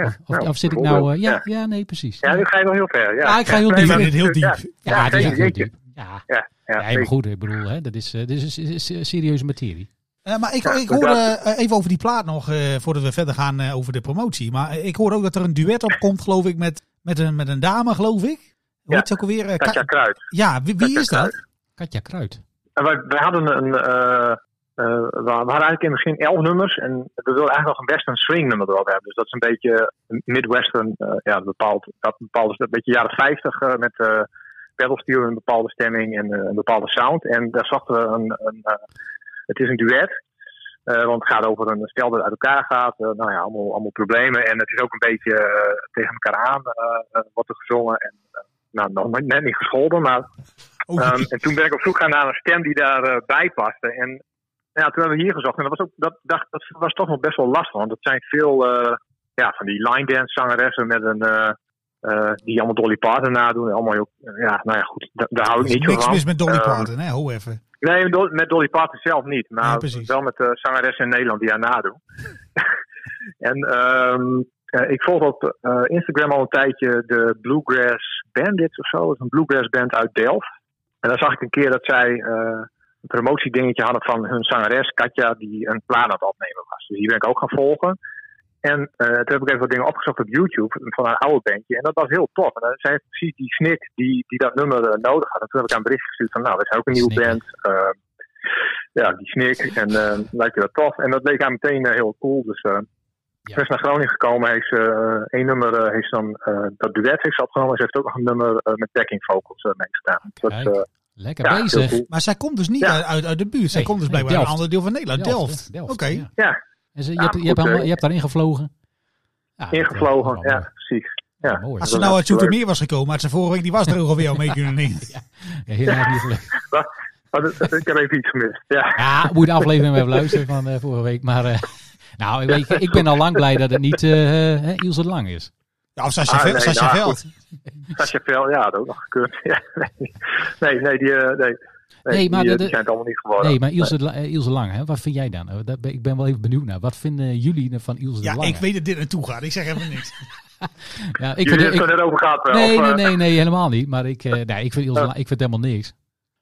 S9: ja,
S2: Of,
S9: nou,
S2: of zit ik nou...
S9: bijvoorbeeld.
S2: eh, ja, ja, nee, precies.
S9: Ja, nu ga je wel heel ver. Ja,
S2: Ja, ik ga heel
S9: Nee,
S2: diep
S9: maar-
S2: in,
S8: heel diep.
S9: Ja,
S2: Ja,
S9: ja,
S2: dat is echt heel
S9: jeetje.
S2: diep. Ja,
S9: ja, ja,
S2: ja, maar
S9: zeker.
S2: goed, ik bedoel, hè, dat is, eh, dit is, is- is serieuze materie.
S8: Eh, maar ik,
S9: Ja,
S8: ik
S9: maar
S8: hoor
S9: dat-
S8: eh, even over die plaat nog, eh, voordat we verder gaan eh, over de promotie. Maar eh, ik hoor ook dat er een duet op komt, geloof ik, met, met, een, met een dame, geloof ik. Hoe
S9: Ja,
S8: heet ze ook alweer? Eh, Ka-
S9: Katja Kruid.
S8: ja, wie, wie
S9: Katja
S8: is dat?
S2: Katja Kruid.
S9: En wij, wij hadden een. eh, eh, we we hadden eigenlijk in het begin elf nummers. En we wilden eigenlijk nog een western swing nummer erop hebben. Dus dat is een beetje een midwestern. eh, ja, bepaald, dat bepaald is een beetje jaren 50 eh, met eh pedalsteel, een bepaalde stemming en eh, een bepaalde sound. En daar zochten we een. een eh, het is een duet. eh, want het gaat over een stel dat uit elkaar gaat. eh, nou ja, allemaal, allemaal problemen. En het is ook een beetje eh, tegen elkaar aan eh, eh, wordt er gezongen. En, eh, nou, nog net niet gescholden, maar
S8: Oh, (laughs)
S9: Ehm, en toen ben ik op zoek gaan naar een stem die daarbij bij paste. En nou ja, toen hebben we hier gezocht. En dat was, ook, dat, dacht, dat was toch nog best wel lastig. Want dat zijn veel eh, ja, van die line dance zangeressen met een, eh, eh, die allemaal Dolly Parton nadoen. En Allemaal, heel- ja, nou ja, goed, da- daar hou
S8: er
S9: ik
S8: is
S9: niet zo
S8: niks
S9: van.
S8: mis met Dolly
S9: Ehm,
S8: Parton, hè? Ho even.
S9: Nee, met Dol- met Dolly Parton zelf niet.
S8: Nee,
S9: Maar
S8: precies.
S9: wel met de zangeressen in Nederland die haar nadoen. (laughs) en ehm, eh, ik volg op eh, Instagram al een tijdje de Bluegrass Bandits of zo. Dat is een bluegrass band uit Delft. En dan zag ik een keer dat zij eh, een promotiedingetje hadden van hun zangeres Katja, die een plaat aan het opnemen was. Dus die ben ik ook gaan volgen. En eh, toen heb ik even wat dingen opgezocht op YouTube van haar oude bandje. En dat was heel tof. En eh, zij heeft precies die snik die, die dat nummer eh, nodig had. En toen heb ik haar een bericht gestuurd van, nou, we zijn ook een nieuwe
S2: Snik.
S9: band. Eh, ja, die snik. En eh, lijkt je dat tof. En dat leek haar meteen eh, heel cool. Dus eh
S2: Ja.
S9: ze is naar Groningen gekomen. Heeft ze eh, één nummer, eh, heeft ze dan eh, dat duet heeft ze opgenomen. Ze heeft ook nog een nummer eh, met backing vocals eh, meegedaan. Dat,
S2: Kijk,
S9: eh,
S2: Lekker
S9: ja, heel
S2: bezig.
S9: cool.
S8: Maar zij komt dus niet
S9: Ja.
S8: uit, uit, uit de buurt. Zij
S2: Nee,
S8: komt dus
S2: nee,
S8: blijkbaar uit een
S2: Delft.
S8: ander deel van Nederland. Delft.
S2: hè, Delft,
S8: Oké.
S9: Ja.
S2: En ze, je,
S9: Ja,
S2: hebt, je,
S9: goed,
S2: hebt allemaal,
S9: eh.
S2: je hebt daarin gevlogen. Ja, dat, eh,
S9: Ingevlogen,
S2: dat is wel
S9: ja, precies.
S2: mooi.
S9: ja.
S2: Mooi.
S8: Als
S2: hoor.
S8: ze
S9: dat
S8: nou
S9: is
S8: uit Zoetermeer was gekomen, had ze vorige week die was er ook alweer al mee kunnen nemen.
S2: Ja, helaas niet gelukt.
S9: Maar
S2: (laughs)
S9: dat- dat- ik heb even iets gemist. Ja.
S2: Ja, moet je de aflevering even luisteren van eh, vorige week. Maar eh, (laughs) nou, ik, weet- ik ben al lang blij dat het niet eh eh, Ilse de Lang is.
S8: Ja, of
S9: Ah, nee,
S8: Sascha
S9: nou,
S8: Veld.
S9: Sascha Vel, ja, dat ook nog gekund. (laughs) Ja, nee. nee, nee, die, eh, nee. Nee,
S2: Nee, maar
S9: die, eh,
S2: de-
S9: die
S2: de-
S9: zijn het allemaal niet geworden.
S2: Nee, maar Ilse, de La- eh, Ilse de Lang, hè, wat vind jij dan? Eh, dat ben- ik ben wel even benieuwd naar. Wat vinden jullie van Ilse
S8: Ja,
S2: de Lang?
S8: ik weet dat dit naartoe gaat. Ik zeg even niks.
S2: Ja, ik
S9: Jullie
S2: vind,
S9: hebben het
S2: ik,
S9: er net over gehad wel.
S2: nee,
S9: of,
S2: nee,
S9: eh,
S2: nee, nee, helemaal niet. Maar ik,
S9: (laughs)
S2: eh, nee, ik vind Ilse de Lang, ik vind helemaal niks.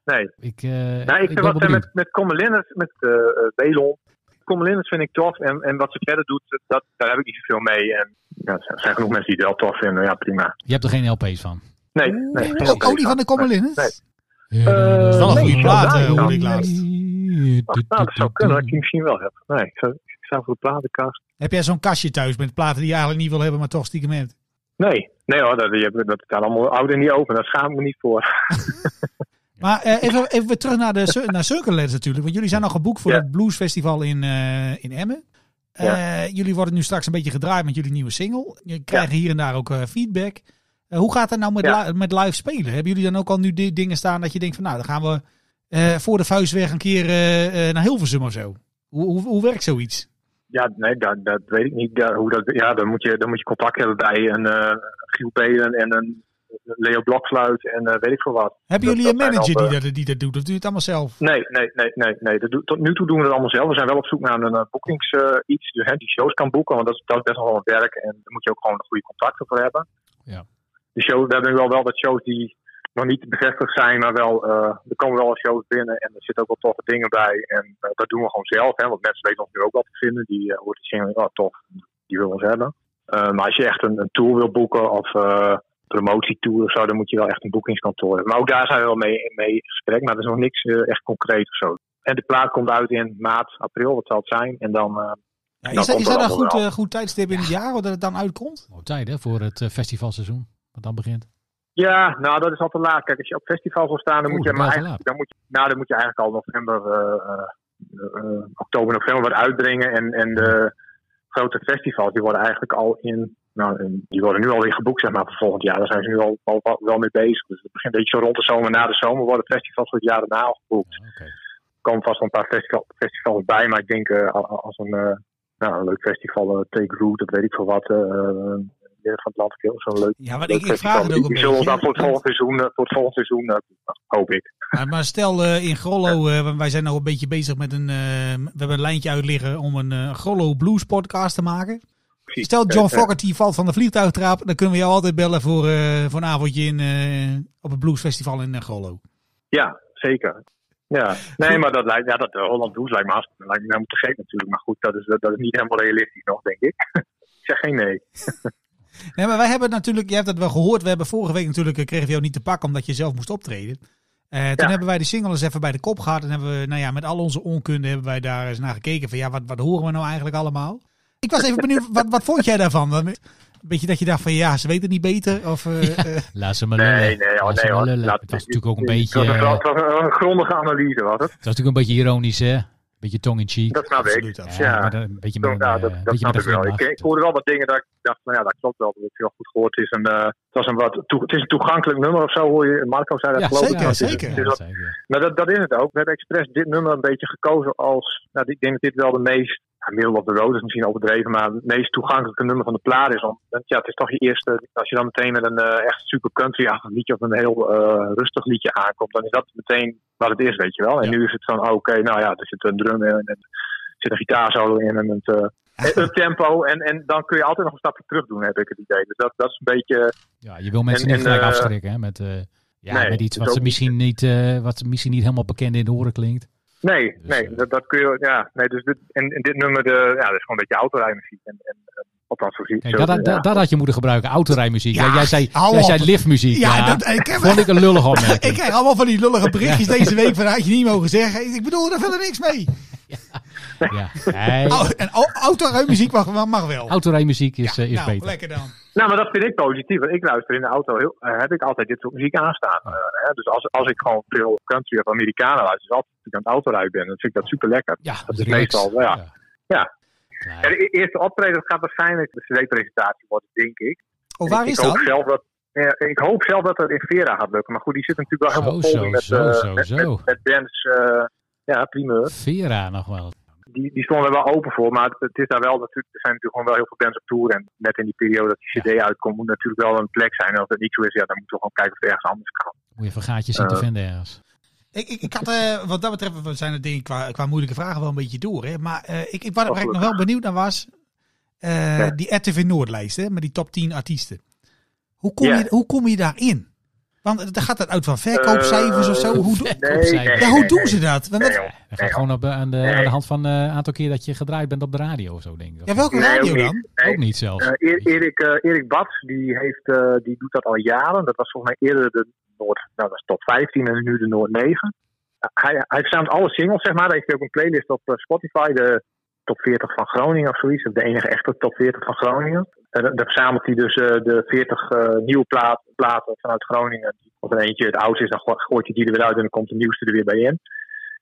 S9: nee.
S2: Ik, eh,
S9: Nou, ik
S2: ben
S9: vind
S2: wel
S9: wat ze
S2: benieuwd.
S9: met, met Common Linnets, met eh eh, Belon. Common Linnets vind ik tof. En, en wat ze verder doet, dat, daar heb ik niet zoveel mee. En ja, er zijn genoeg mensen die het wel tof vinden. Ja, prima.
S2: Je hebt er geen LP's van.
S9: Nee, nee.
S2: Oh,
S8: Ook ook die van de Commerlin.
S9: Nee. Eh,
S8: Dat is wel een
S9: Nee,
S8: goede
S9: ik
S8: plaat,
S9: zou
S8: eh,
S9: daar
S8: hoorde ik
S9: niet
S8: laatst.
S9: Nou, dat zou kunnen dat ik die misschien wel heb. Nee, ik zou, ik zou voor de platenkast.
S8: (laughs) Heb jij zo'n kastje thuis met platen die je eigenlijk niet wil hebben, maar toch stiekem hebt?
S9: Nee, nee hoor, dat, die hebben- dat staat allemaal oud en niet open. Daar schaam ik me niet voor. (laughs)
S8: Maar eh, even, even weer terug naar, de, Sur- naar Circulaires natuurlijk. Want jullie zijn al geboekt voor
S9: Ja.
S8: het Bluesfestival in, eh, in Emmen. Eh, Jullie worden nu straks een beetje gedraaid met jullie nieuwe single. Je krijgt hier en daar ook eh, feedback. Eh, hoe gaat dat nou met,
S9: Ja.
S8: li- met live spelen? Hebben jullie dan ook al nu di- dingen staan dat je denkt van nou, dan gaan we eh, voor de vuist weg een keer eh, eh, naar Hilversum of zo? Hoe, hoe, hoe werkt zoiets?
S9: Ja, nee, dat, dat weet ik niet. Ja, hoe dat, ja dan, moet je, dan moet je contact hebben bij een eh Giel Belen en een Leo Bloksluit en eh, weet ik veel wat.
S8: Hebben
S9: Dat-
S8: jullie een
S9: dat zijn
S8: manager
S9: al,
S8: die
S9: eh,
S8: dat, die dat doet? Of doe je het allemaal zelf?
S9: Nee, nee, nee, nee. nee. Dat doe- tot nu toe doen we dat allemaal zelf. We zijn wel op zoek naar een eh, boekings iets dus, hè, die shows kan boeken. Want dat is, dat is best wel wat werk. En daar moet je ook gewoon de goede contacten voor hebben.
S2: Ja.
S9: De show, we hebben nu wel, wel wat shows die nog niet bevestigd zijn. Maar wel, eh, er komen wel wat shows binnen. En er zitten ook wel toffe dingen bij. En eh, dat doen we gewoon zelf. Hè, want mensen weten ons nu ook wel te vinden. Die wordt hoort te zien. Oh, tof. Die willen ons hebben. Eh, maar als je echt een, een tour wil boeken of... eh, promotietour of zo, dan moet je wel echt een boekingskantoor hebben. Maar ook daar zijn we wel mee, mee in gesprek, maar er is nog niks eh, echt concreet of zo. En de plaat komt uit in maart, april, wat zal het zijn. En dan, eh,
S8: Ja,
S9: dat
S8: is, dat,
S9: komt
S8: is
S9: er
S8: dat een
S9: allemaal
S8: goed,
S9: wel.
S8: eh, goed tijdstip in het jaar dat het dan uitkomt?
S2: Mooi tijd hè, voor het eh, festivalseizoen. Wat dan begint.
S9: ja, nou dat is al te laat. Kijk, als je op festival wil staan, dan
S2: Oeh,
S9: moet je
S2: dat
S9: maar
S2: is al
S9: eigenlijk, dan moet je, nou, dan moet je eigenlijk al november, eh, eh, eh, oktober, november wat uitbrengen. En, en de grote festivals, die worden eigenlijk al in, nou, in- die worden nu alweer geboekt, zeg maar, voor volgend jaar. Daar zijn ze nu al, al- al- wel mee bezig. Dus het begint een beetje zo rond de zomer, na de zomer worden festivals voor het jaar daarna al geboekt.
S2: Oké.
S9: Er komen vast wel een paar festival, festivals bij, maar ik denk eh, a- a- als een, eh, nou, een leuk festival, eh, Take Root, dat weet ik veel wat, eh, eh, Midden van het Land, heel zo'n leuk,
S8: Ja, maar
S9: leuk
S8: ik, ik vraag het ook een
S9: Die zullen ons
S8: beetje.
S9: dan voor het volgende seizoen, eh, voor het volgende seizoen eh, hoop ik.
S8: Maar, maar stel eh, in Grollo, eh, want wij zijn nog een beetje bezig met een. eh, we hebben een lijntje uit liggen om een eh, Grollo Blues podcast te maken.
S9: Precies.
S8: Stel John
S9: Eh, eh,
S8: Fogerty valt van de vliegtuigtraap, dan kunnen we jou altijd bellen voor, eh, voor een avondje in, eh, op het bluesfestival in eh, Grollo.
S9: ja, zeker. Ja, nee, maar dat lijkt, ja, dat eh, Holland Does lijkt me, hartstikke- lijkt me helemaal te gek natuurlijk. Maar goed, dat is, dat, dat is niet helemaal realistisch nog, denk ik. (laughs) ik zeg geen nee.
S8: Nee, maar wij hebben natuurlijk, je hebt dat wel gehoord, we hebben vorige week natuurlijk, eh, kregen we jou niet te pakken omdat je zelf moest optreden. Eh, toen
S9: Ja.
S8: hebben wij de single eens even bij de kop gehad en hebben we, nou ja, met al onze onkunde hebben wij daar eens naar gekeken van ja, wat, wat horen we nou eigenlijk allemaal? Ik was even benieuwd, wat, wat vond jij daarvan? Een beetje dat je dacht van ja, ze weten niet beter of... eh, eh,
S2: Laat ze maar lullen.
S9: Nee, nee, oh,
S2: Laat ze
S9: nee
S2: maar
S9: hoor.
S2: lullen.
S9: Laat-
S2: Het was natuurlijk ook een beetje...
S9: Het was een,
S2: eh,
S9: het was een- een grondige analyse, was het?
S2: Het was natuurlijk een beetje ironisch, hè? Beetje tong in cheek.
S9: Dat snap ik.
S8: absoluut, absoluut.
S9: Ja.
S2: maar dan een beetje
S9: Ja,
S2: met een,
S9: nou,
S2: eh,
S9: dat,
S2: beetje
S9: dat
S2: met een
S9: snap ik wel. Ik,
S2: glimlach.
S9: ik hoorde wel wat dingen dat ik dacht, nou ja, dat klopt wel. Dat heb ik wel goed gehoord. Het is een, eh, het was een wat, toe- het is een toegankelijk nummer of zo, hoor je. Marco zei dat
S2: Ja,
S9: geloof ik.
S8: zeker,
S9: Nou, het is-
S8: zeker.
S9: het
S2: Ja,
S9: is
S2: dat
S9: wat-
S2: zei ik, ja.
S9: nou, dat, dat is het ook. We hebben expres dit nummer een beetje gekozen als, nou, ik denk dat dit wel de meest, nou, middel op de road is misschien overdreven, maar het meest toegankelijke nummer van de plaat is. Om, want eh, ja, het is toch je eerste, als je dan meteen met een eh, echt super country-achtig liedje of een heel eh, rustig liedje aankomt, dan is dat meteen wat het is, weet je wel. En nu is het van, oh, oké, nou ja, er zit een drum in en er zit een gitaarsolo in en het... eh, en up tempo en, en dan kun je altijd nog een stapje terug doen, heb ik het idee. Dus dat, dat is een beetje.
S2: Ja, je wil mensen
S9: En-
S2: niet
S9: en,
S2: gelijk
S9: eh,
S2: afstrikken, hè? Met, eh, ja,
S9: nee,
S2: met iets
S9: dus
S2: wat, ze
S9: ook-
S2: misschien niet, eh, wat ze misschien niet helemaal bekend in de oren klinkt.
S9: Nee,
S2: Dus,
S9: nee,
S2: eh,
S9: dat, dat kun je. Ja, nee, dus dit, en, en dit nummer, de, ja, dat is gewoon een beetje autorijmuziek. En, en, eh, althans, voor
S2: Kijk, dat, dat, dat had je moeten gebruiken, autorijmuziek.
S8: Ja,
S2: Ja, jij zei,
S8: hou
S2: jij
S8: op.
S2: zei liftmuziek. Ja,
S8: ja, dat, ik, heb,
S2: vond ik een lullig
S8: (laughs) ik
S2: opmerking.
S8: krijg allemaal van die lullige berichtjes deze week van had je niet mogen zeggen. Ik bedoel, daar verder niks mee.
S2: ja. Nee,
S8: Au- En au- autoruimmuziek mag, mag wel.
S2: autorijmuziek is, eh, is
S8: nou,
S2: beter.
S8: lekker dan.
S9: Nou, maar dat vind ik positief. Want ik luister in de auto, heel, eh, heb ik altijd dit soort muziek aanstaan. Eh, hè, dus als, als ik gewoon veel country of Amerikanen luister, is altijd als ik aan het autorijden ben, dan vind ik dat super lekker.
S2: Ja,
S9: dat is
S2: relaxed.
S9: meestal, ja. Ja.
S2: Klaar.
S9: En de e- eerste optreden dat gaat waarschijnlijk de CD-presentatie worden, denk ik.
S8: Oh, waar
S9: ik,
S8: is
S9: ik hoop
S8: dat?
S9: Zelf dat ja, ik hoop zelf dat dat in Vera gaat lukken. Maar goed, die zit natuurlijk wel
S2: Zo,
S9: helemaal vol
S2: zo,
S9: met,
S2: zo,
S9: eh,
S2: zo,
S9: met,
S2: zo.
S9: met, met bands. eh, ja, primeur.
S2: Vera nog wel.
S9: Die, die stonden er wel open voor. Maar het, het is daar wel natuurlijk, er zijn natuurlijk gewoon wel heel veel bands op tour. En net in die periode dat die CD uitkomt, moet natuurlijk wel een plek zijn. En als dat niet zo is, ja, dan moeten we gewoon kijken of het ergens anders kan.
S2: Moet je even gaatjes zien te
S9: Eh.
S2: vinden ergens.
S8: Ik, ik, ik had, eh, wat dat betreft, we zijn het ding qua, qua moeilijke vragen wel een beetje door. Hè? Maar eh, ik, ik, waar, waar ik nog wel benieuwd naar was, eh,
S9: Ja.
S8: die RTV Noordlijst, hè, met die top 10 artiesten. Hoe kom,
S9: Ja.
S8: je, hoe kom je daarin? Want eh, gaat dat uit van verkoopcijfers
S9: Eh,
S8: of zo? Oh, Hoe, do-
S9: Nee, nee,
S8: ja, hoe
S9: nee,
S8: doen
S9: nee.
S8: ze dat? Want dat-
S9: Nee, joh.
S2: Dat gaat
S9: Nee,
S2: gewoon op, eh, aan, de, aan
S9: Nee.
S2: de hand van een aantal keer dat je gedraaid bent op de radio of zo, denk ik. Of
S8: ja, welke
S9: Nee,
S8: radio
S9: ook niet.
S8: dan?
S9: Nee.
S2: Ook niet zelfs.
S9: Eh, Eer- Erik, eh, Erik Bats, die, heeft, eh, die doet dat al jaren. Dat was volgens mij eerder de Noord, nou, dat is top 15 en nu de Noord 9. Eh, hij, hij verzamelt alle singles, zeg maar. Daar heeft hij ook een playlist op eh, Spotify, de top 40 van Groningen of zoiets. Of de enige echte top 40 van Groningen. En dan- dan verzamelt hij dus eh, de 40 eh, nieuwe plaat, platen vanuit Groningen. Of er eentje het oudste is, dan go- gooit hij die er weer uit en dan komt de nieuwste er weer bij in.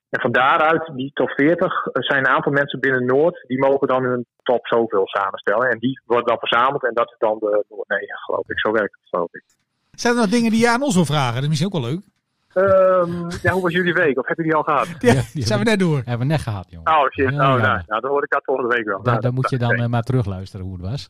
S9: En van daaruit, die top 40, eh, zijn een aantal mensen binnen Noord. Die mogen dan hun top zoveel samenstellen. En die wordt dan verzameld en dat is dan de Noord 9, geloof ik. Zo werkt het, geloof ik.
S8: Zijn er nog dingen die je aan ons wil vragen? Dat is misschien ook wel leuk.
S9: Ehm, ja, hoe was jullie week? Of hebben jullie die al gehad?
S8: Ja,
S2: Ja, die
S8: zijn we net door.
S2: Hebben we net gehad, jongen.
S9: Oh shit,
S2: Ja,
S9: oh, nou,
S2: ja.
S9: nou, dan hoor ik dat volgende week wel.
S2: Daar,
S9: Nou,
S2: daar moet je dan
S9: oké.
S2: eh, maar terugluisteren hoe het was.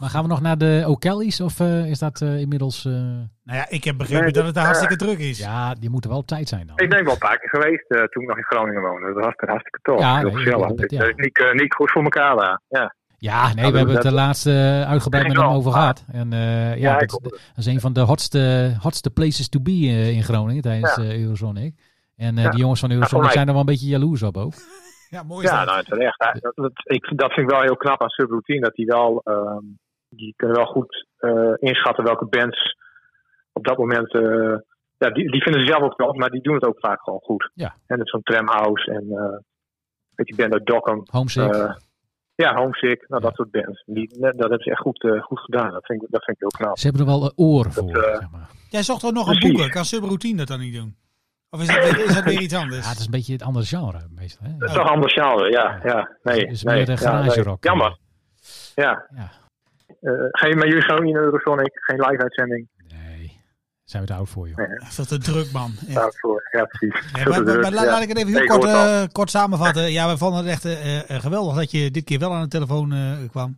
S2: Maar gaan we nog naar de O'Kelly's of eh, is dat eh, inmiddels... eh,
S8: Nou ja, ik heb begrepen
S9: Nee,
S8: dat het daar
S9: eh,
S8: hartstikke druk is.
S2: ja, die moeten wel op tijd zijn dan.
S9: Ik ben wel een paar keer geweest eh, toen ik nog in Groningen woonde. Dat was er hartstikke tof.
S2: Ja,
S9: Heel
S2: nee,
S9: gezellig.
S2: dat- ja.
S9: Dat is niet, eh, niet goed voor elkaar daar. Ja.
S2: Ja, nee,
S9: Ja,
S2: we hebben het
S9: dat-
S2: de laatste eh, uitgebreid met
S9: Ik
S2: hem
S9: wel.
S2: over gehad. En eh, ja,
S9: Ja, ik
S2: dat, dat is een van de hotste, hotste places to be eh, in Groningen tijdens
S9: Ja.
S2: eh Eurozonic. En eh
S9: Ja.
S2: de jongens van Eurozonic
S9: gelijk.
S2: zijn er wel een beetje jaloers op ook.
S8: Ja, mooi is
S9: Ja,
S8: dat.
S9: nou terecht. Hij- Dat, dat, ik, dat vind ik wel heel knap aan Subroutine. Dat die wel, ehm, die kunnen wel goed eh, inschatten welke bands op dat moment. eh, ja, die, die vinden ze zelf ook knap, maar die doen het ook vaak gewoon goed.
S2: Ja.
S9: En dat is zo'n tramhouse en eh weet je, die band uit Dokkum.
S2: Homesick.
S9: eh, ja, Homesick, nou dat soort bands. Die, dat hebben ze echt goed, eh, goed gedaan. Dat vind, ik, dat vind ik heel knap.
S2: Ze hebben er wel eh, oren voor,
S9: eh,
S2: zeg maar.
S8: Jij zocht er nog aan
S9: Precies.
S8: boeken. Kan Subroutine dat dan niet doen? Of is dat weer, is
S9: (laughs)
S8: dat weer iets anders?
S2: Ja, het is een beetje het andere genre meestal. Hè?
S9: Dat is toch anders genre, ja. ja nee,
S2: Het is
S9: nee,
S2: meer de
S9: ja,
S2: garage
S9: nee.
S2: rock.
S9: Jammer, ja.
S2: Ja.
S9: Eh, geen, maar jullie gaan ook niet naar Eurosonic, geen live-uitzending.
S2: Nee, zijn we te oud voor, joh.
S9: Nee.
S8: Veel te druk, man. Echt.
S9: Daarvoor, ja, precies.
S8: Nee,
S9: Veel
S8: maar,
S9: te
S8: maar-
S9: druk,
S8: maar la-
S9: ja.
S8: laat ik het even heel
S9: Nee, ik
S8: kort,
S9: hoor het
S8: eh, kort samenvatten. Ja, we vonden het echt eh, eh, geweldig dat je dit keer wel aan de telefoon eh, kwam.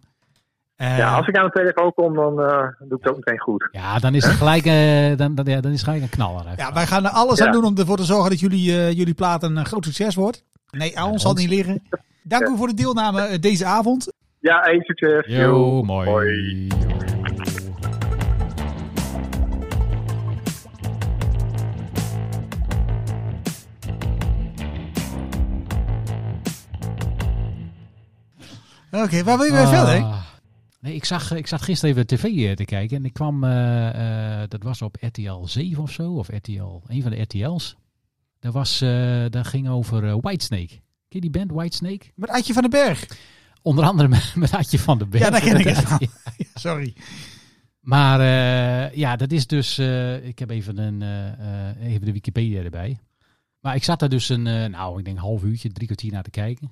S8: Eh,
S9: Ja, als ik aan de telefoon kom, dan eh, doe ik het ook meteen goed.
S2: Ja, dan is het gelijk, eh, dan, dan, ja, dan is het gelijk een knaller. hè.
S8: ja, wij gaan er alles
S9: Ja.
S8: aan doen om ervoor te zorgen dat jullie, eh, jullie plaat een eh, groot succes wordt. Nee, aan ons zal het niet liggen. Dank u voor de deelname eh, deze avond.
S9: Ja, één succes.
S2: Yo, mooi.
S9: Hoi.
S2: Yo.
S8: Oké, waar wil je weer verder?
S2: Ah. Nee, ik, zag, ik zat gisteren even tv eh, te kijken en ik kwam, eh, eh, dat was op RTL 7 of zo, of RTL, een van de RTL's. Dat, was, eh, dat ging over eh, Whitesnake. Ken je die band Whitesnake?
S8: Met Adje van den Berg.
S2: Onder andere (laughs) met, met Adje van de Berg.
S8: Ja, dat ken ik
S2: (laughs)
S8: echt wel.
S2: Ja.
S8: Sorry.
S2: Maar eh, ja, dat is dus. eh, ik heb even, een, eh, eh, even de Wikipedia erbij. Maar ik zat daar dus een, eh, nou, ik denk een half uurtje, drie kwartier naar te kijken.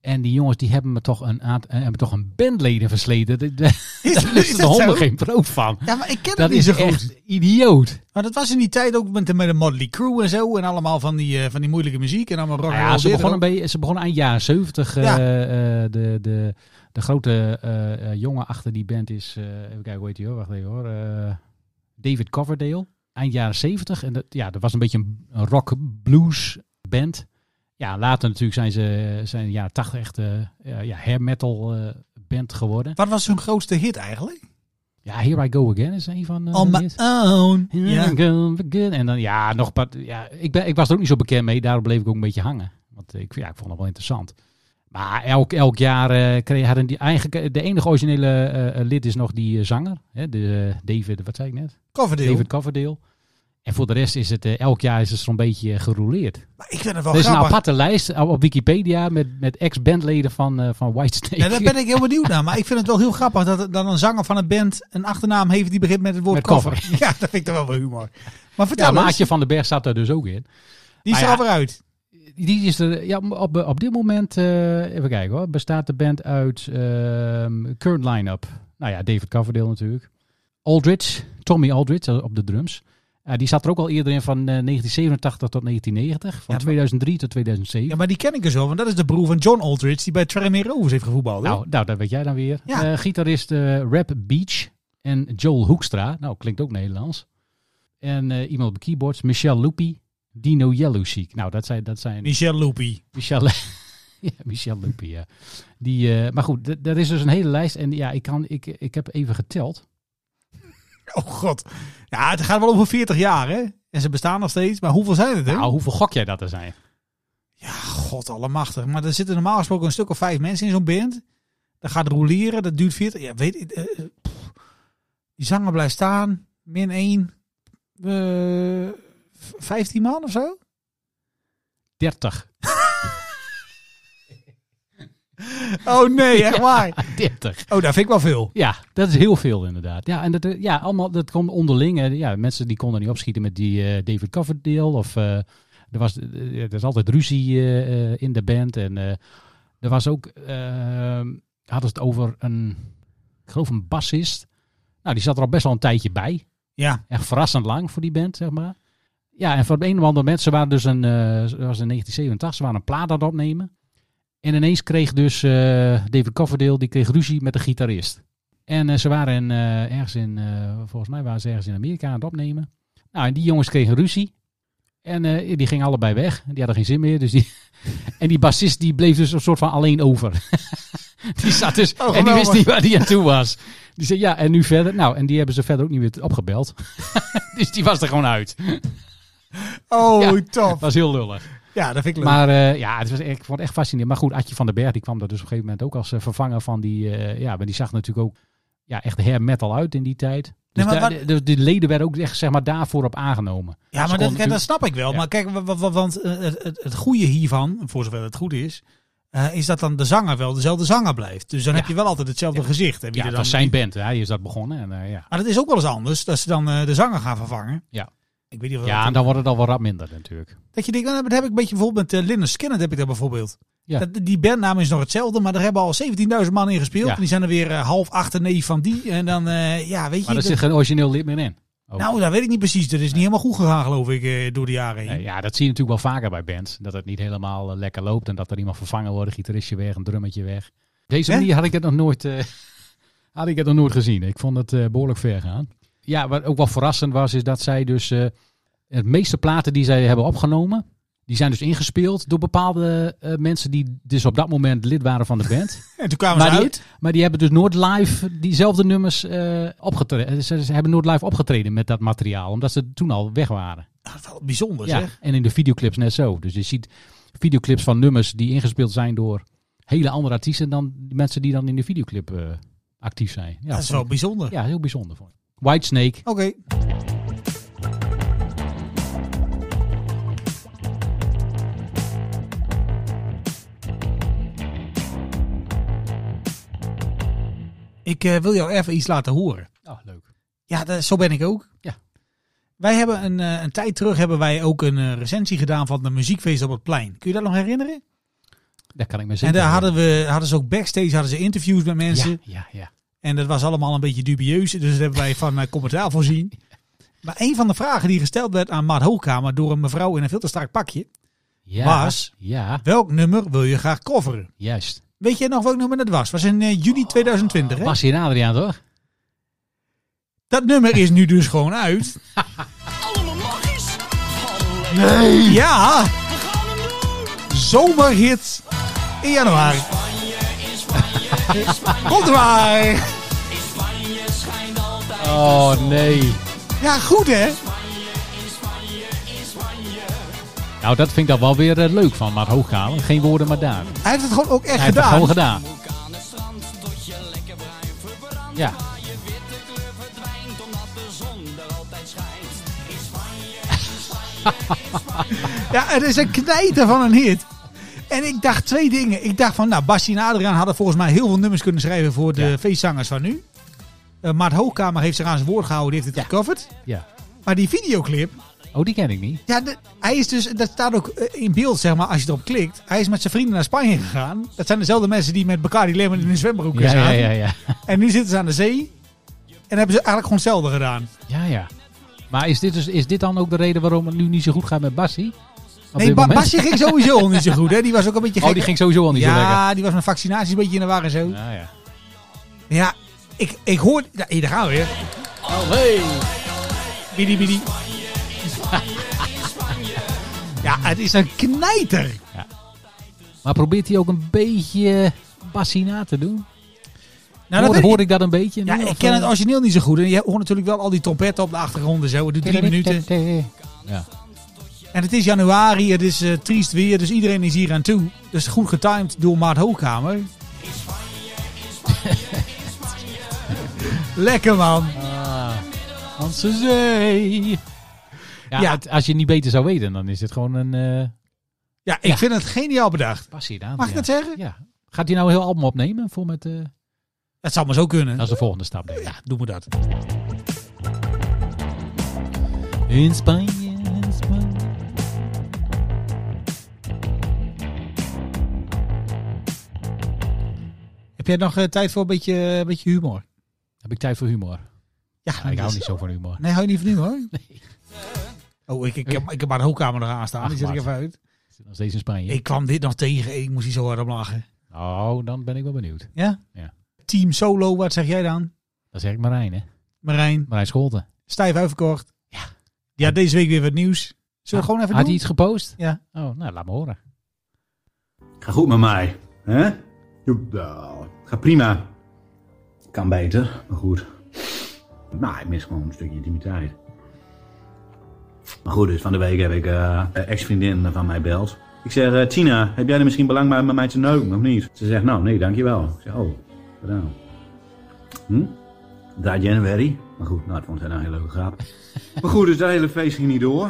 S2: En die jongens die hebben me toch een, aant- eh, hebben toch een bandleden versleten. (laughs) Daar daar
S8: Is,
S2: is de
S8: dat
S2: honden
S8: zo?
S2: geen proef van.
S8: Ja, maar ik ken
S2: Dat
S8: het niet
S2: is
S8: zo goed.
S2: echt idioot.
S8: Maar dat was in die tijd ook met de, met de Motley Crew en zo. En allemaal van die, eh, van die moeilijke muziek. En allemaal rock
S2: Nou
S8: and
S2: ja,
S8: roll
S2: ze,
S8: dit
S2: begonnen
S8: en
S2: bij, ze begonnen eind jaren 70. eh,
S8: Ja.
S2: eh, de, de, de grote eh, eh, jongen achter die band is. eh, even kijken, hoe heet hij hoor? Wacht even hoor. eh, David Coverdale. Eind jaren 70. En dat, ja, dat was een beetje een, een rock blues band. Ja, later natuurlijk zijn ze zijn in de jaren 80 echt eh, eh, ja, hair metal eh, band geworden.
S8: Wat was hun grootste hit eigenlijk?
S2: Ja, Here I Go Again is een van eh,
S8: On
S2: de
S8: my
S2: hits.
S8: own.
S2: Here
S8: Ja.
S2: I go again. En dan ja, nog wat. Ja, ik, ben, ik was er ook niet zo bekend mee, daarom bleef ik ook een beetje hangen. Want eh, ik, ja, ik vond het wel interessant. Maar elk, elk jaar eh, kreeg, hadden die eigenlijk. eh, De enige originele eh, eh, lid is nog die eh, zanger. Hè, de, eh, David, wat zei ik net?
S8: Coverdale.
S2: David Coverdale. En voor de rest is het eh, elk jaar is het zo'n beetje eh, gerouleerd.
S8: Maar ik vind het wel
S2: er is een
S8: Oh, grappig.
S2: aparte lijst op op Wikipedia met, met ex-bandleden van, eh van Whitesnake.
S8: Ja, daar ben ik heel benieuwd naar. Maar ik vind het wel heel grappig dat, dat een zanger van een band een achternaam heeft die begint met het woord
S2: Met
S8: cover.
S2: cover.
S8: (laughs) Ja, dat vind ik toch wel wel humor. Maar
S2: ja,
S8: vertel maar
S2: Maatje van den Berg staat daar dus ook in.
S8: die is er
S2: maar Nou ja.
S8: alweer uit.
S2: Die is er, ja, op, op dit moment, eh, even kijken hoor, bestaat de band uit ehm, current line-up. Nou ja, David Coverdale natuurlijk. Aldridge, Tommy Aldridge eh, op de drums. Eh, die zat er ook al eerder in van eh, 1987 tot 1990, van
S8: Ja, maar-
S2: 2003 tot 2007.
S8: Ja, maar die ken ik dus wel, want dat is de broer van John Aldridge die bij Tranmere Rovers heeft gevoetbald. hè?
S2: nou, nou, dat weet jij dan weer.
S8: Ja.
S2: Eh, gitarist eh, Rap Beach en Joel Hoekstra. Nou, klinkt ook Nederlands. En eh, iemand op de keyboards, Michelle Loopy, Dino Yellowseek. Nou, dat zijn, dat zijn
S8: Michel Loopy.
S2: Michel, (laughs) ja, Michel Lupi, ja. Die, eh, maar goed, d- dat is dus een hele lijst. En ja, ik, kan, ik, ik heb even geteld.
S8: Oh god. Ja, het gaat wel over 40 jaar, hè? En ze bestaan nog steeds. Maar hoeveel zijn het, hè?
S2: Nou, hoeveel gok jij dat er zijn?
S8: Ja, god allemachtig. Maar er zitten normaal gesproken een stuk of vijf mensen in zo'n band. Dat gaat roleren, dat duurt 40. Ja, weet ik. eh, eh, pff. die zanger blijft staan. Min 1. eh 15 man of zo?
S2: (laughs) 30.
S8: Oh
S2: (laughs)
S8: nee, echt waar.
S2: 30.
S8: Oh, dat vind ik wel veel.
S2: Ja, dat is heel veel inderdaad. Ja, en dat, eh, ja, allemaal, dat komt onderling. eh, Ja, mensen die konden niet opschieten met die eh, David Coverdale. Of eh, er, was, eh, er is altijd ruzie eh, eh, in de band. En eh, er was ook, eh, hadden ze het over een, ik geloof een bassist. Nou, die zat er al best wel een tijdje bij.
S8: Ja,
S2: echt verrassend lang voor die band, zeg maar. Ja, en van de een of andere mensen waren dus een, eh, ze was in 1987, ze waren een plaat aan het opnemen. En ineens kreeg dus eh, David Coverdale, die kreeg ruzie met de gitarist. En eh, ze waren in, eh, ergens in, eh, volgens mij waren ze ergens in Amerika aan het opnemen. Nou, en die jongens kregen ruzie. En eh, die gingen allebei weg. Die hadden geen zin meer. Dus die (laughs) en die bassist die bleef dus een soort van alleen over. (laughs) die zat dus, en die wist niet waar die aan toe was. Die zei ja, en nu verder. Nou, en die hebben ze verder ook niet meer opgebeld. dus die was er gewoon uit.
S8: Oh,
S2: Ja.
S8: top.
S2: Dat was heel lullig.
S8: Ja, dat vind ik leuk.
S2: Maar eh, ja, het was, echt- ik vond het echt fascinerend. Maar goed, Adje van den Berg die kwam daar dus op een gegeven moment ook als eh, vervanger van die... eh, ja, maar die zag natuurlijk ook ja, echt hair metal uit in die tijd. Dus
S8: Nee, maar
S2: daar-
S8: wat-
S2: de, de leden werden ook echt zeg maar, daarvoor op aangenomen.
S8: ja, maar dat,
S2: kon
S8: kijk, dat
S2: natuurlijk-
S8: snap ik wel.
S2: Ja.
S8: Maar kijk, wa- wa- wa- want eh, het, het, het goede hiervan, voor zover het goed is, eh, is dat dan de zanger wel dezelfde zanger blijft. Dus dan
S2: Ja.
S8: heb je wel altijd hetzelfde gezicht. Hè, wie er
S2: Ja, dat
S8: dan...
S2: was zijn band. hè. Hij is dat begonnen. En, eh, ja,
S8: Maar dat is ook wel eens anders, dat ze dan eh, de zanger gaan vervangen.
S2: Ja.
S8: Ik weet niet of
S2: ja
S8: dat,
S2: en dan wordt het al wel rap minder natuurlijk.
S8: dat je denkt, nou, dat heb ik een beetje bijvoorbeeld met eh, Lynyrd Skynyrd heb ik dat bijvoorbeeld.
S2: Ja.
S8: Dat, die bandnaam is nog hetzelfde, maar daar hebben al 17.000 man in gespeeld.
S2: Ja.
S8: En die zijn er weer eh, half achterneef van die. En dan, eh, ja, weet je.
S2: Maar er
S8: dat-
S2: zit geen origineel lid meer in. Ook.
S8: Nou, dat weet ik niet precies. Dat is niet helemaal goed gegaan, geloof ik, eh, door de jaren heen.
S2: Nee, ja, dat zie je natuurlijk wel vaker bij bands. Dat het niet helemaal eh, lekker loopt en dat er iemand vervangen wordt. Een gitaristje weg, een drummetje weg. Op deze
S8: Hè?
S2: manier had ik het nog nooit, eh, (laughs) had ik het nog nooit gezien. Ik vond het eh, behoorlijk ver gaan. Ja, wat ook wel verrassend was, is dat zij dus... eh het meeste platen die zij hebben opgenomen, die zijn dus ingespeeld door bepaalde eh, mensen die dus op dat moment lid waren van de
S8: (laughs)
S2: band.
S8: En toen kwamen
S2: maar,
S8: ze
S2: die,
S8: uit.
S2: maar die hebben dus nooit live diezelfde nummers eh opgetreden. Ze, ze hebben nooit live opgetreden met dat materiaal, omdat ze toen al weg waren.
S8: Ah, Dat is wel bijzonder,
S2: Ja,
S8: zeg.
S2: en in de videoclips net zo. Dus je ziet videoclips van nummers die ingespeeld zijn door hele andere artiesten dan de mensen die dan in de videoclip eh, actief zijn. Ja,
S8: dat is
S2: vond
S8: wel
S2: ik-
S8: bijzonder.
S2: ja, heel bijzonder. Vond ik. Whitesnake.
S8: Oké. Ik eh, wil jou even iets laten horen.
S2: Ah, leuk.
S8: Ja, dat, zo ben ik ook.
S2: Ja.
S8: Wij hebben een, eh, een tijd terug hebben wij ook een eh, recensie gedaan van de muziekfeest op het plein. Kun je dat nog herinneren?
S2: Daar kan ik me
S8: En
S2: zeker
S8: daar hadden, we, hadden ze ook backstage hadden ze interviews met mensen.
S2: ja, ja, ja.
S8: En dat was allemaal een beetje dubieus. Dus dat hebben wij van eh, commentaar voorzien. Maar een van de vragen die gesteld werd aan Maat Hoogkamer door een mevrouw in een veel te strak pakje.
S2: ja.
S8: Bas?
S2: Ja,
S8: Welk nummer wil je graag coveren?
S2: juist.
S8: Weet jij nog welk nummer dat was? was in eh, juni 2020 hè?
S2: Bas hier en Adriaan, toch?
S8: Dat nummer is nu dus gewoon uit. Nee! Ja! Zomerhit in januari. Komt er maar!
S2: Oh, nee.
S8: Ja, goed hè?
S2: Nou, dat vind ik dan wel weer eh, leuk van Maat Hoogkamer. Geen woorden, maar daden.
S8: Hij heeft het gewoon ook echt
S2: Hij heeft het
S8: gedaan.
S2: gewoon gedaan. Ja.
S8: Ja, het is een knijter van een hit. En ik dacht twee dingen. Ik dacht van, nou, Bastien en Adriaan hadden volgens mij heel veel nummers kunnen schrijven voor de
S2: Ja.
S8: feestzangers van nu. Eh Maart Hoogkamer heeft zich aan zijn woord gehouden, die heeft het gecoverd.
S2: ja.
S8: Maar die videoclip,
S2: Oh, die ken ik niet.
S8: ja, de- hij is dus, dat staat ook eh, in beeld, zeg maar, als je erop klikt. Hij is met zijn vrienden naar Spanje gegaan. Dat zijn dezelfde mensen die met Bacardi Lemon in hun zwembroek
S2: Ja,
S8: zaten.
S2: ja, ja, ja.
S8: En nu zitten ze aan de zee. En hebben ze eigenlijk gewoon hetzelfde gedaan.
S2: Ja, ja. Maar is dit, dus, is dit dan ook de reden waarom het nu niet zo goed gaat met Bassie? Op
S8: Nee,
S2: dit
S8: ba
S2: moment?
S8: Basje ging
S2: (laughs)
S8: sowieso al niet zo goed, hè. Die was ook een beetje gek.
S2: Oh, die ging sowieso al niet zo lekker.
S8: ja, die was met vaccinaties een beetje in de war en zo.
S2: Ja, ja.
S8: Ja, ik, ik hoor... Ja, hier daar gaan we weer.
S2: Oh,
S8: Bidi bidi. Ja, het is een knijter. Nou,
S2: Maar probeert hij ook een beetje Bassie na te doen?
S8: Nou,
S2: hoor,
S8: dat
S2: hoor
S8: hoor ik.
S2: ik dat een beetje?
S8: Ja,
S2: nu,
S8: ik
S2: of,
S8: ken het
S2: eh?
S8: origineel niet zo goed. En je hoort natuurlijk wel al die trompetten op de achtergrond en zo. Het duurt drie minuten. En het is januari, het is eh, triest weer, dus iedereen is hier aan toe. Dus goed getimed door Maart Hoogkamer. (laughs) Lekker man.
S2: Hans de Zee. Ja,
S8: Ja.
S2: het- als je het niet beter zou weten, dan is dit gewoon een eh
S8: Ja, ik vind het geniaal bedacht.
S2: Bassie. Daar,
S8: Mag ik
S2: ja.
S8: dat zeggen?
S2: Ja. Gaat hij nou een heel album opnemen? Voor met, eh,
S8: Dat zou maar zo kunnen.
S2: dat is de volgende stap, denk ik.
S8: Ja, doe me dat.
S2: In Spanje, in Spanje.
S8: Heb jij nog eh, tijd voor een beetje, een beetje humor?
S2: Heb ik tijd voor humor?
S8: Ja, dus-
S2: Ja, ik
S8: dat
S2: hou
S8: is-
S2: niet zo van humor.
S8: Nee, hou je niet van nu hoor.
S2: (laughs) Nee.
S8: Oh, ik, ik, heb, ik heb maar de hoogkamer nog aanstaan.
S2: Ach,
S8: die zet ik
S2: Bart.
S8: even uit.
S2: Ik zit nog steeds in Spanje. Nou,
S8: Ik kwam dit nog tegen. Ik moest hier zo hard om lachen.
S2: Oh, dan ben ik wel benieuwd.
S8: Ja?
S2: Ja.
S8: team solo, wat zeg jij dan?
S2: Dat zeg ik Marijn, hè?
S8: Marijn,
S2: Marijn Scholten.
S8: stijf uitverkocht. Ja. Ja, deze week weer wat nieuws. Zullen we gewoon even
S2: Had
S8: doen?
S2: hij iets gepost?
S8: Ja.
S2: Oh, nou, laat me horen.
S10: Ga goed met mij. Hè? Jawel. Ga prima. Kan beter, maar goed. Nou, ik mis gewoon een stukje intimiteit. Maar goed, dus van de week heb ik eh, een ex-vriendin van mij belt. Ik zeg, eh, Tina, heb jij er misschien belang bij om met mij te neuken, of niet? Ze zegt, nou, nee, dankjewel. Ik zeg, oh, gedaan. Hm? Draait January? Maar goed, nou, het vond zij nou een hele leuke grap. maar goed, dus dat hele feest ging niet door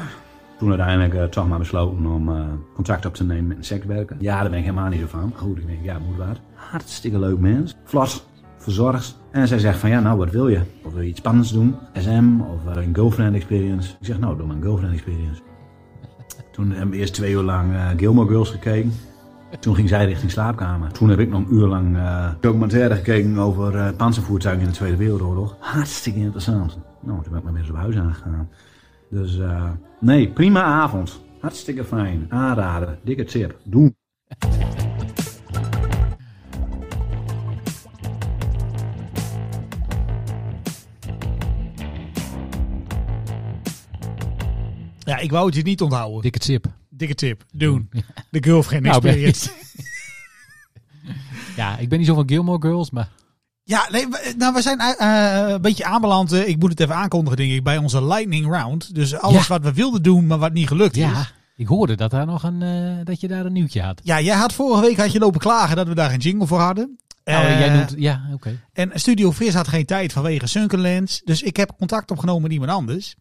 S10: toen uiteindelijk eh, toch maar besloten om eh, contact op te nemen met een sekswerker. Ja, daar ben ik helemaal niet zo van. Maar Goed, ik denk, ja, moet wat. Hartstikke leuk mens. Vlot, verzorgd. En zij zegt van, ja, nou, wat wil je? Of wil je iets spannends doen? SM of eh, een girlfriend experience? Ik zeg, nou, doe maar een girlfriend experience. Toen hebben we eerst twee uur lang eh, Gilmore Girls gekeken. Toen ging zij richting slaapkamer. Toen heb ik nog een uur lang eh, documentaire gekeken over eh panzervoertuigen in de Tweede Wereldoorlog. Hartstikke interessant. Nou, toen ben ik maar weer eens op huis aangegaan. Dus eh, nee, prima avond. Hartstikke fijn. Aanraden. Dikke tip. Doen.
S8: Ja, ik wou het je niet onthouden.
S2: Dikke tip.
S8: Dikke tip. Doen. De girlfriend
S2: Nou,
S8: experience.
S2: ja, ik ben niet zo van Gilmore Girls, maar
S8: (laughs) Ja, nee, we- nou, we zijn eh, eh, een beetje aanbeland. eh, ik moet het even aankondigen, denk ik, bij onze lightning round. Dus alles
S2: Ja.
S8: wat we wilden doen, maar wat niet gelukt
S2: ja.
S8: is.
S2: Ik hoorde dat, daar nog een, eh, dat je daar een nieuwtje had.
S8: Ja, jij had vorige week had je lopen klagen dat we daar geen jingle voor hadden.
S2: Nou,
S8: Eh,
S2: jij noemt, ja, oké.
S8: En Studio Fris had geen tijd vanwege Sunkenlands. Dus ik heb contact opgenomen met iemand anders.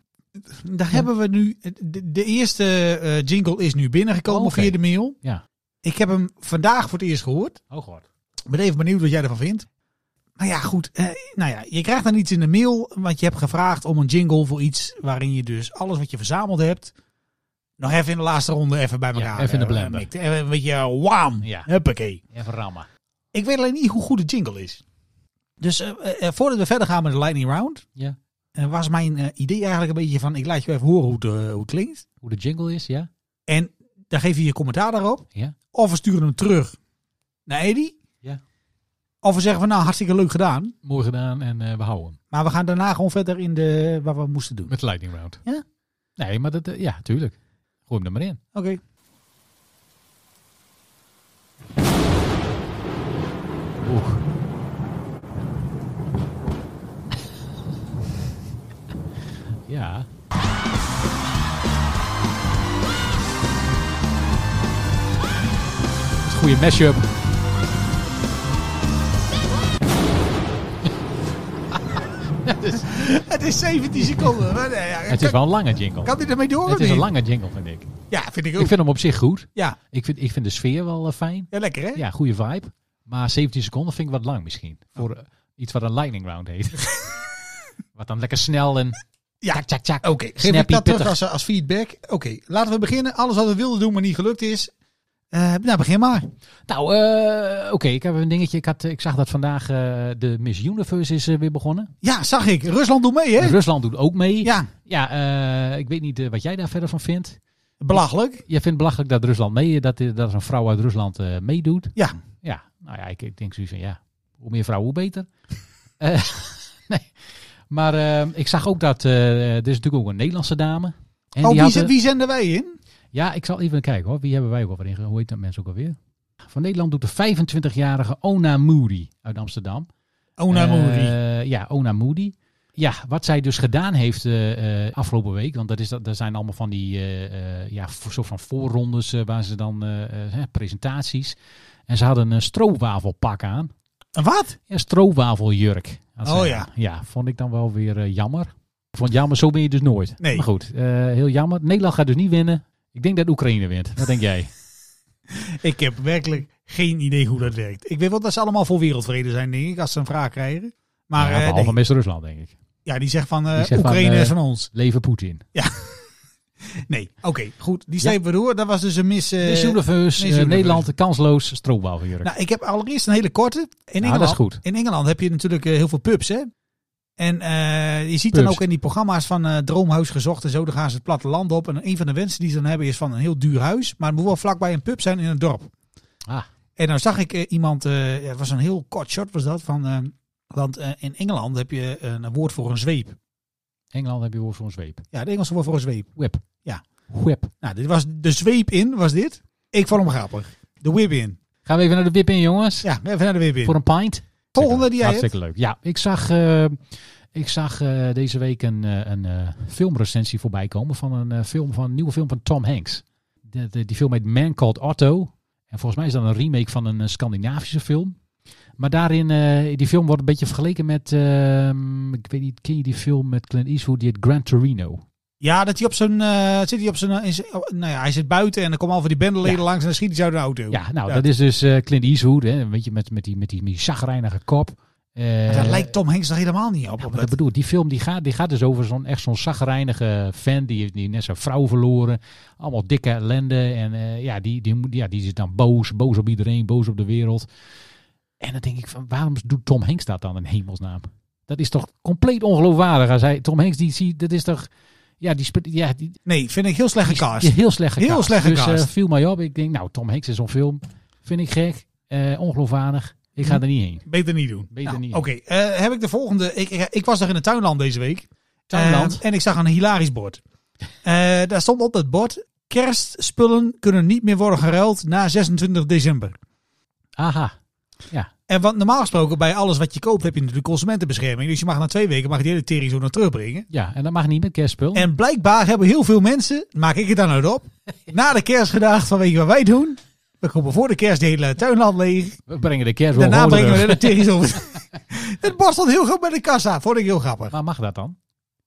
S8: Daar hebben we nu... De, de eerste eh, jingle is nu binnengekomen
S2: Oh, Oké.
S8: via de mail.
S2: Ja.
S8: Ik heb hem vandaag voor het eerst gehoord.
S2: Oh god.
S8: Ik ben even benieuwd wat jij ervan vindt. Nou ja, goed. eh, nou ja, je krijgt dan iets in de mail, want je hebt gevraagd om een jingle voor iets waarin je dus alles wat je verzameld hebt, nog even in de laatste ronde even bij elkaar.
S2: even in de
S8: eh,
S2: blender.
S8: mikt. Even een beetje eh, wham.
S2: Ja.
S8: Huppakee.
S2: Even rammen.
S8: Ik weet alleen niet hoe goed de jingle is. Dus eh, eh, voordat we verder gaan met de lightning round,
S2: Ja.
S8: eh, was mijn eh, idee eigenlijk een beetje van, ik laat je even horen hoe het, eh, hoe het klinkt.
S2: Hoe de jingle is, ja?
S8: En dan geef je je commentaar daarop.
S2: Ja.
S8: Of we sturen hem terug naar Eddy.
S2: Ja.
S8: Of we zeggen van, nou, hartstikke leuk gedaan.
S2: Mooi gedaan en eh, we houden hem.
S8: Maar we gaan daarna gewoon verder in de, wat we moesten doen. Oké.
S2: Met lightning round.
S8: Ja?
S2: Nee, maar dat, eh, ja, tuurlijk. Gooi hem er maar in. Oeh. ja. Dat is een goede mashup.
S8: Het is 17 seconden. Maar nee, ja,
S2: Het
S8: kan,
S2: is wel een lange jingle.
S8: kan die ermee door
S2: het
S8: of
S2: is een
S8: niet?
S2: lange jingle, vind ik.
S8: Ja, vind ik ook.
S2: Ik vind hem op zich goed.
S8: Ja.
S2: Ik vind, ik vind de sfeer wel eh, fijn.
S8: ja, lekker hè?
S2: Ja, goede vibe. Maar 17 seconden vind ik wat lang misschien. Voor eh, iets wat een lightning round heet. (laughs) wat dan lekker snel en...
S8: Ja.
S2: Tjak, tjak, tjak.
S8: Oké, geef ik
S2: Snappy,
S8: dat terug
S2: pittig.
S8: als, als feedback. Oké, laten we beginnen. Alles wat we wilden doen, maar niet gelukt is. Eh, nou, begin maar.
S2: Nou, eh, oké. ik heb een dingetje. Ik, had, eh, ik zag dat vandaag eh, de Miss Universe is eh, weer begonnen.
S8: Ja, zag ik. Rusland doet mee hè?
S2: Rusland doet ook mee.
S8: Ja,
S2: Ja, eh, ik weet niet eh, wat jij daar verder van vindt.
S8: belachelijk.
S2: Jij vindt belachelijk dat Rusland mee, dat, eh, dat er een vrouw uit Rusland eh, meedoet.
S8: Ja.
S2: Ja, nou ja, ik, ik denk zoiets van ja, hoe meer vrouwen,
S8: (laughs)
S2: hoe beter. Eh, (laughs) nee. Maar eh, ik zag ook dat, eh, er is natuurlijk ook een Nederlandse dame. En
S8: oh, wie,
S2: had,
S8: zet-
S2: eh,
S8: wie zenden wij in?
S2: Ja, ik zal even kijken hoor. Wie hebben wij ook alweer ingegaan? Hoe heet dat mensen ook alweer? Van Nederland doet de 25-jarige Ona Moody uit Amsterdam.
S8: Ona Moody.
S2: Eh, ja, Ona Moody. Ja, wat zij dus gedaan heeft eh, eh, afgelopen week, want dat is dat, er zijn allemaal van die eh, eh, ja, voor- soort van voorrondes eh, waar ze dan eh, eh, hè, presentaties. En ze hadden een stroopwafelpak aan.
S8: Een Wat?
S2: Een stroopwafeljurk. had ze
S8: Oh
S2: aan.
S8: ja.
S2: Ja, vond ik dan wel weer eh, jammer. Ik vond het jammer, zo ben je dus nooit.
S8: Nee.
S2: Maar goed, eh, heel jammer. Nederland gaat dus niet winnen. Ik denk dat Oekraïne wint. Wat denk jij?
S8: Ik heb werkelijk geen idee hoe dat werkt. Ik weet wel dat ze allemaal voor wereldvrede zijn, denk ik, als ze een vraag krijgen. Maar
S2: ja,
S8: eh,
S2: behalve
S8: nee.
S2: meest Rusland, denk ik.
S8: ja, die zegt van eh,
S2: Die zegt van,
S8: Oekraïne
S2: eh,
S8: is van ons.
S2: Leven Poetin.
S8: Nee, oké, goed. Die strepen we door. Dat was dus een mis... eh,
S2: Miss Universe, eh,
S8: Universe.
S2: Nederland, kansloos, stroopwafeljurk.
S8: nou, ik heb allereerst een hele korte. In Engeland,
S2: Nou, dat is goed.
S8: In Engeland heb je natuurlijk eh, heel veel pubs, hè? En eh, je ziet dan
S2: Pubs.
S8: ook in die programma's van eh, Droomhuis gezocht en zo, dan gaan ze het platteland op. En een van de wensen die ze dan hebben is van een heel duur huis. Maar het moet wel vlakbij een pub zijn in een dorp.
S2: Ah.
S8: En nou zag ik eh, iemand, eh, ja, het was een heel kort shot was dat, van, eh, want eh, in Engeland heb je eh, een woord voor een zweep.
S2: Engeland heb je woord voor een zweep.
S8: Ja, het Engelse woord voor een zweep.
S2: Whip.
S8: Ja.
S2: Whip.
S8: Nou, dit was de zweep in, was dit. Ik vond hem grappig. De whip in.
S2: Gaan we even naar de whip in, jongens?
S8: Ja, even naar de whip in.
S2: Voor een pint.
S8: Volgende die jij
S2: Hartstikke leuk. Ja, ik zag, eh, ik zag eh, deze week een, eh, een eh, filmrecensie voorbij komen van een, eh, film, van een nieuwe film van Tom Hanks. De, de- die film heet Man Called Otto. En volgens mij is dat een remake van een eh, Scandinavische film. Maar daarin, eh, die film wordt een beetje vergeleken met, ehm, ik weet niet, ken je die film met Clint Eastwood, die heet Gran Torino?
S8: Ja, dat hij op zijn, eh, zit hij op zijn, eh, in zijn- oh, nou ja, hij zit buiten en dan komen al van die bendeleden
S2: Ja.
S8: langs en dan schiet hij zo uit de auto.
S2: Ja, nou, dat is dus eh, Clint Eastwood, hè, weet je, met, met die, met die, met die zagrijnige kop. Eh,
S8: Maar daar lijkt Tom Hanks toch helemaal niet op.
S2: Ja,
S8: op
S2: maar dat
S8: dat-
S2: bedoel, ik, die film die gaat, die gaat dus over zo'n echt zo'n zagrijnige fan die, heeft- die net zijn vrouw verloren. Allemaal dikke ellende. En eh, ja, die, die, moet- ja, die is dan boos. Boos op iedereen, boos op de wereld. En dan denk ik van, waarom doet Tom Hanks dat dan in hemelsnaam? Dat is toch compleet ongeloofwaardig. Als hij, Tom Hanks, die ziet, dat is toch... Ja, die, spe- ja, die,
S8: nee, vind ik heel slecht
S2: (laughs) die
S8: gecast.
S2: is heel slecht
S8: Heel
S2: gecast.
S8: slecht
S2: Dus eh,
S8: gecast.
S2: viel mij op. Ik denk, nou, Tom Hanks is zo'n film. Vind ik gek. eh ongeloofwaardig. Ik
S8: Hm.
S2: ga er niet heen.
S8: Beter niet doen.
S2: Beter
S8: Nou,
S2: niet.
S8: Oké, eh, heb ik de volgende. Ik, ik, ik was nog in het tuinland deze week.
S2: Tuinland?
S8: Eh, en ik zag een hilarisch bord. Eh, daar stond op dat bord... Kerstspullen kunnen niet meer worden geruild na 26 december.
S2: Aha. Ja.
S8: En want normaal gesproken bij alles wat je koopt heb je natuurlijk consumentenbescherming. Dus je mag na twee weken mag je de hele tering zo nog terugbrengen.
S2: Ja, en dat mag niet met kerstspul.
S8: En blijkbaar hebben heel veel mensen, maak ik het dan uit
S2: (laughs)
S8: op, na de kerst gedacht van weet je wat wij doen? We kopen voor de kerst de hele tuinland leeg.
S2: We brengen de kerstboom
S8: Daarna
S2: gewoon
S8: brengen we de
S2: terug.
S8: hele tering zo.
S2: (laughs)
S8: Het bord stond heel goed bij de kassa. Vond ik heel grappig.
S2: Maar mag dat dan?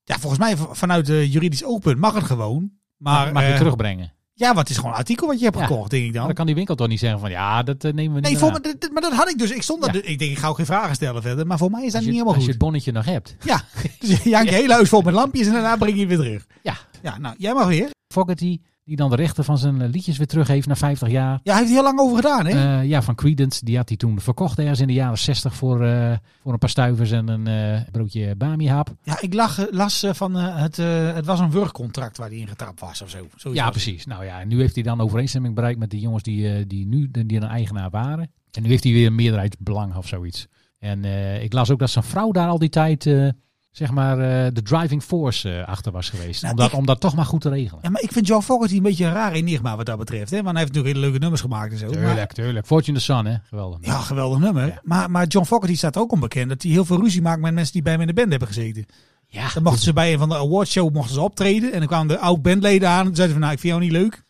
S8: Ja, volgens mij v- vanuit eh, juridisch oogpunt mag het gewoon. Maar,
S2: mag je
S8: eh,
S2: terugbrengen?
S8: Ja, want het is gewoon een artikel wat je hebt
S2: Ja.
S8: gekocht, denk ik
S2: Maar
S8: dan.
S2: dan kan die winkel toch niet zeggen van ja, dat eh, nemen we niet
S8: Nee,
S2: meer
S8: voor
S2: aan.
S8: me, dit- dit- maar dat had ik dus. Ik stond daar.
S2: Ja.
S8: dus- Ik denk, ik ga ook geen vragen stellen verder. Maar voor mij is dat
S2: als, je,
S8: niet helemaal
S2: als je
S8: goed.
S2: het bonnetje nog hebt.
S8: (laughs) Ja, dus je
S2: (laughs)
S8: hangt je hele huis vol met lampjes en daarna breng je het weer terug.
S2: Ja.
S8: Ja, nou, jij mag weer.
S2: Fogerty, die dan de rechten van zijn eh, liedjes weer terug heeft na 50 jaar.
S8: Ja, hij heeft er heel lang over gedaan, hè?
S2: Eh, ja, van Credence, die had hij toen verkocht ergens in de jaren 60 voor, eh, voor een paar stuivers en een eh, broodje bamihap.
S8: ja, ik lag, eh, las eh, van eh, het, eh, het was een wurgcontract waar hij in getrapt was of zo. Zoiets was
S2: Ja,
S8: het.
S2: precies. Nou ja, en nu heeft hij dan overeenstemming bereikt met de jongens die, eh, die nu die een eigenaar waren. En nu heeft hij weer een meerderheidsbelang of zoiets. En eh, ik las ook dat zijn vrouw daar al die tijd, eh, zeg maar, eh, de driving force eh, achter was geweest.
S8: Nou,
S2: om, dat,
S8: ik-
S2: om dat toch maar goed te regelen.
S8: Ja, maar ik vind John Fogerty een beetje een raar enigma wat dat betreft, hè? Want hij heeft natuurlijk hele leuke nummers gemaakt en zo. maar-
S2: Tuurlijk, tuurlijk. Fortune the Sun, hè? Geweldig.
S8: Ja, geweldig nummer. Maar, maar John Fogerty staat ook onbekend dat hij heel veel ruzie maakt met mensen die bij hem in de band hebben gezeten.
S2: Ja,
S8: Dan mochten ze bij een van de awardshow mochten ze optreden en dan kwamen de oud-bandleden aan en zeiden van, nou, ik vind jou niet leuk.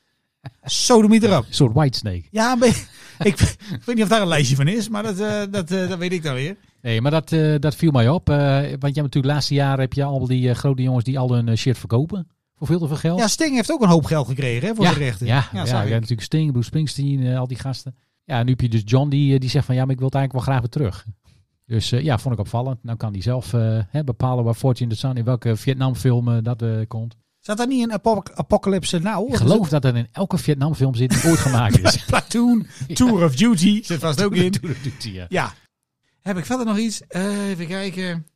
S8: Sodomiet erop.
S2: Een soort Whitesnake.
S8: Ja, een beetje- (laughs) ik, ik weet niet of daar een lijstje van is, maar dat, eh, dat, eh, dat weet ik dan weer.
S2: Nee, maar dat, eh, dat viel mij op. eh, want je hebt natuurlijk de laatste jaren heb je al die eh, grote jongens die al hun eh, shit verkopen. Voor veel te veel geld.
S8: Ja, Sting heeft ook een hoop geld gekregen hè, voor
S2: ja,
S8: zijn rechten.
S2: Ja, ja,
S8: ja,
S2: ja,
S8: zag ik.
S2: natuurlijk Sting, Bruce Springsteen, eh, al die gasten. Ja, nu heb je dus John die, eh, die zegt van ja, maar ik wil het eigenlijk wel graag weer terug. Dus eh, ja, vond ik opvallend. Nou kan hij zelf eh, hè, bepalen waar Fortune the Sun, in welke Vietnamfilm eh, dat eh, komt.
S8: Zat daar niet een apo- apocalypse nou?
S2: Ik geloof dat er in elke Vietnamfilm zit die ooit gemaakt
S8: (laughs)
S2: is. (laughs)
S8: Platoon, Tour of Duty, (laughs) zit vast ook in.
S2: Doe dat, doet hij, ja.
S8: Ja. Heb ik verder nog iets? Eh, even kijken.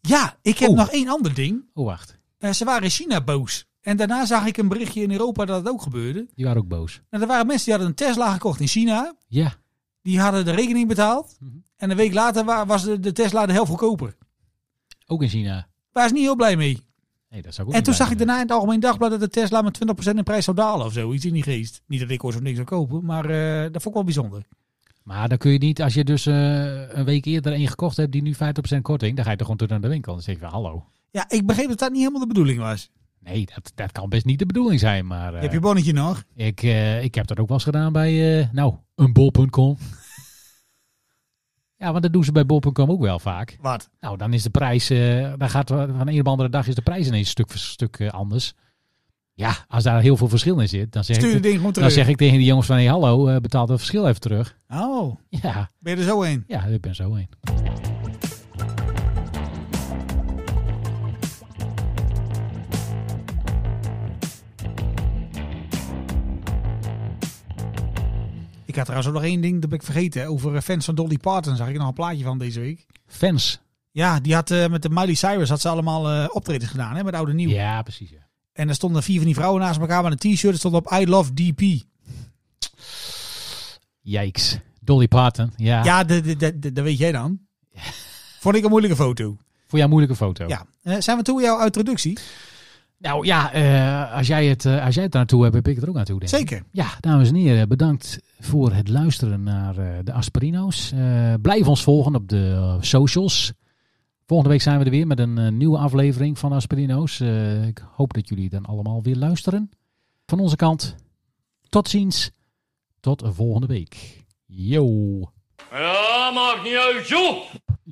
S8: Ja, ik heb
S2: Oh.
S8: nog één ander ding.
S2: Oh, wacht.
S8: Eh, ze waren in China boos. En daarna zag ik een berichtje in Europa dat het ook gebeurde.
S2: Die waren ook boos.
S8: En er waren mensen die hadden een Tesla gekocht in China.
S2: Ja.
S8: Die hadden de rekening betaald.
S2: Mhm.
S8: En een week later wa- was de, de Tesla de helft goedkoper.
S2: Ook in China.
S8: Waar is niet heel blij mee.
S2: Nee, dat zou
S8: En
S2: ik ook
S8: toen
S2: niet
S8: zag ik
S2: weten.
S8: daarna in het Algemeen Dagblad dat de Tesla met 20% in prijs zou dalen of zo. Iets in die geest. Niet dat ik ooit zo'n ding zou kopen, maar eh, dat vond ik wel bijzonder.
S2: Maar dan kun je niet, als je dus eh, een week eerder een gekocht hebt die nu 50% korting, dan ga je toch gewoon terug naar de winkel. Dan zeg je van hallo.
S8: Ja, ik begreep dat dat niet helemaal de bedoeling was.
S2: Nee, dat, dat kan best niet de bedoeling zijn. Maar eh,
S8: Heb je bonnetje nog?
S2: ik, eh, ik heb dat ook wel eens gedaan bij, eh, nou, een bol.com. ja, want dat doen ze bij bol.com ook wel vaak.
S8: Wat?
S2: Nou, dan is de prijs, eh, dan gaat van een op andere dag is de prijs ineens een stuk, voor stuk eh, anders. Ja, als daar heel veel verschil in zit, dan zeg,
S8: Stuur
S2: ik,
S8: het ding gewoon
S2: dan
S8: terug.
S2: Nou, zeg ik tegen die jongens van, hé hey, hallo, eh, betaal dat verschil even terug.
S8: Oh,
S2: Ja,
S8: ben je er zo een?
S2: ja, ik ben zo heen.
S8: Ik had trouwens ook nog één ding, dat ben ik vergeten. hè, Over eh, fans van Dolly Parton zag ik nog een plaatje van deze week.
S2: Fans.
S8: Ja, die had eh, met de Miley Cyrus had ze allemaal eh, optredens gedaan, hè, met oude en nieuw.
S2: Ja, precies. Ja.
S8: En er stonden vier van die vrouwen naast elkaar met een t-shirt. Er stond op I love DP.
S2: Yikes. Dolly Parton, ja.
S8: Ja, dat de, de, de, dat weet jij dan. Vond ik een moeilijke foto.
S2: Voor jouw moeilijke foto.
S8: Ja. Eh, zijn we toe jouw introductie?
S2: Nou ja, eh, als, jij het, eh, als jij het naartoe hebt, heb ik het er ook naartoe. Denk ik.
S8: Zeker.
S2: Ja, dames en heren, bedankt voor het luisteren naar eh, de Aspirino's. Eh, blijf ons volgen op de eh, socials. Volgende week zijn we er weer met een eh, nieuwe aflevering van Aspirino's. Eh, ik hoop dat jullie dan allemaal weer luisteren. Van onze kant, tot ziens. Tot volgende week. Yo.
S3: Ja, maakt niet uit, joh!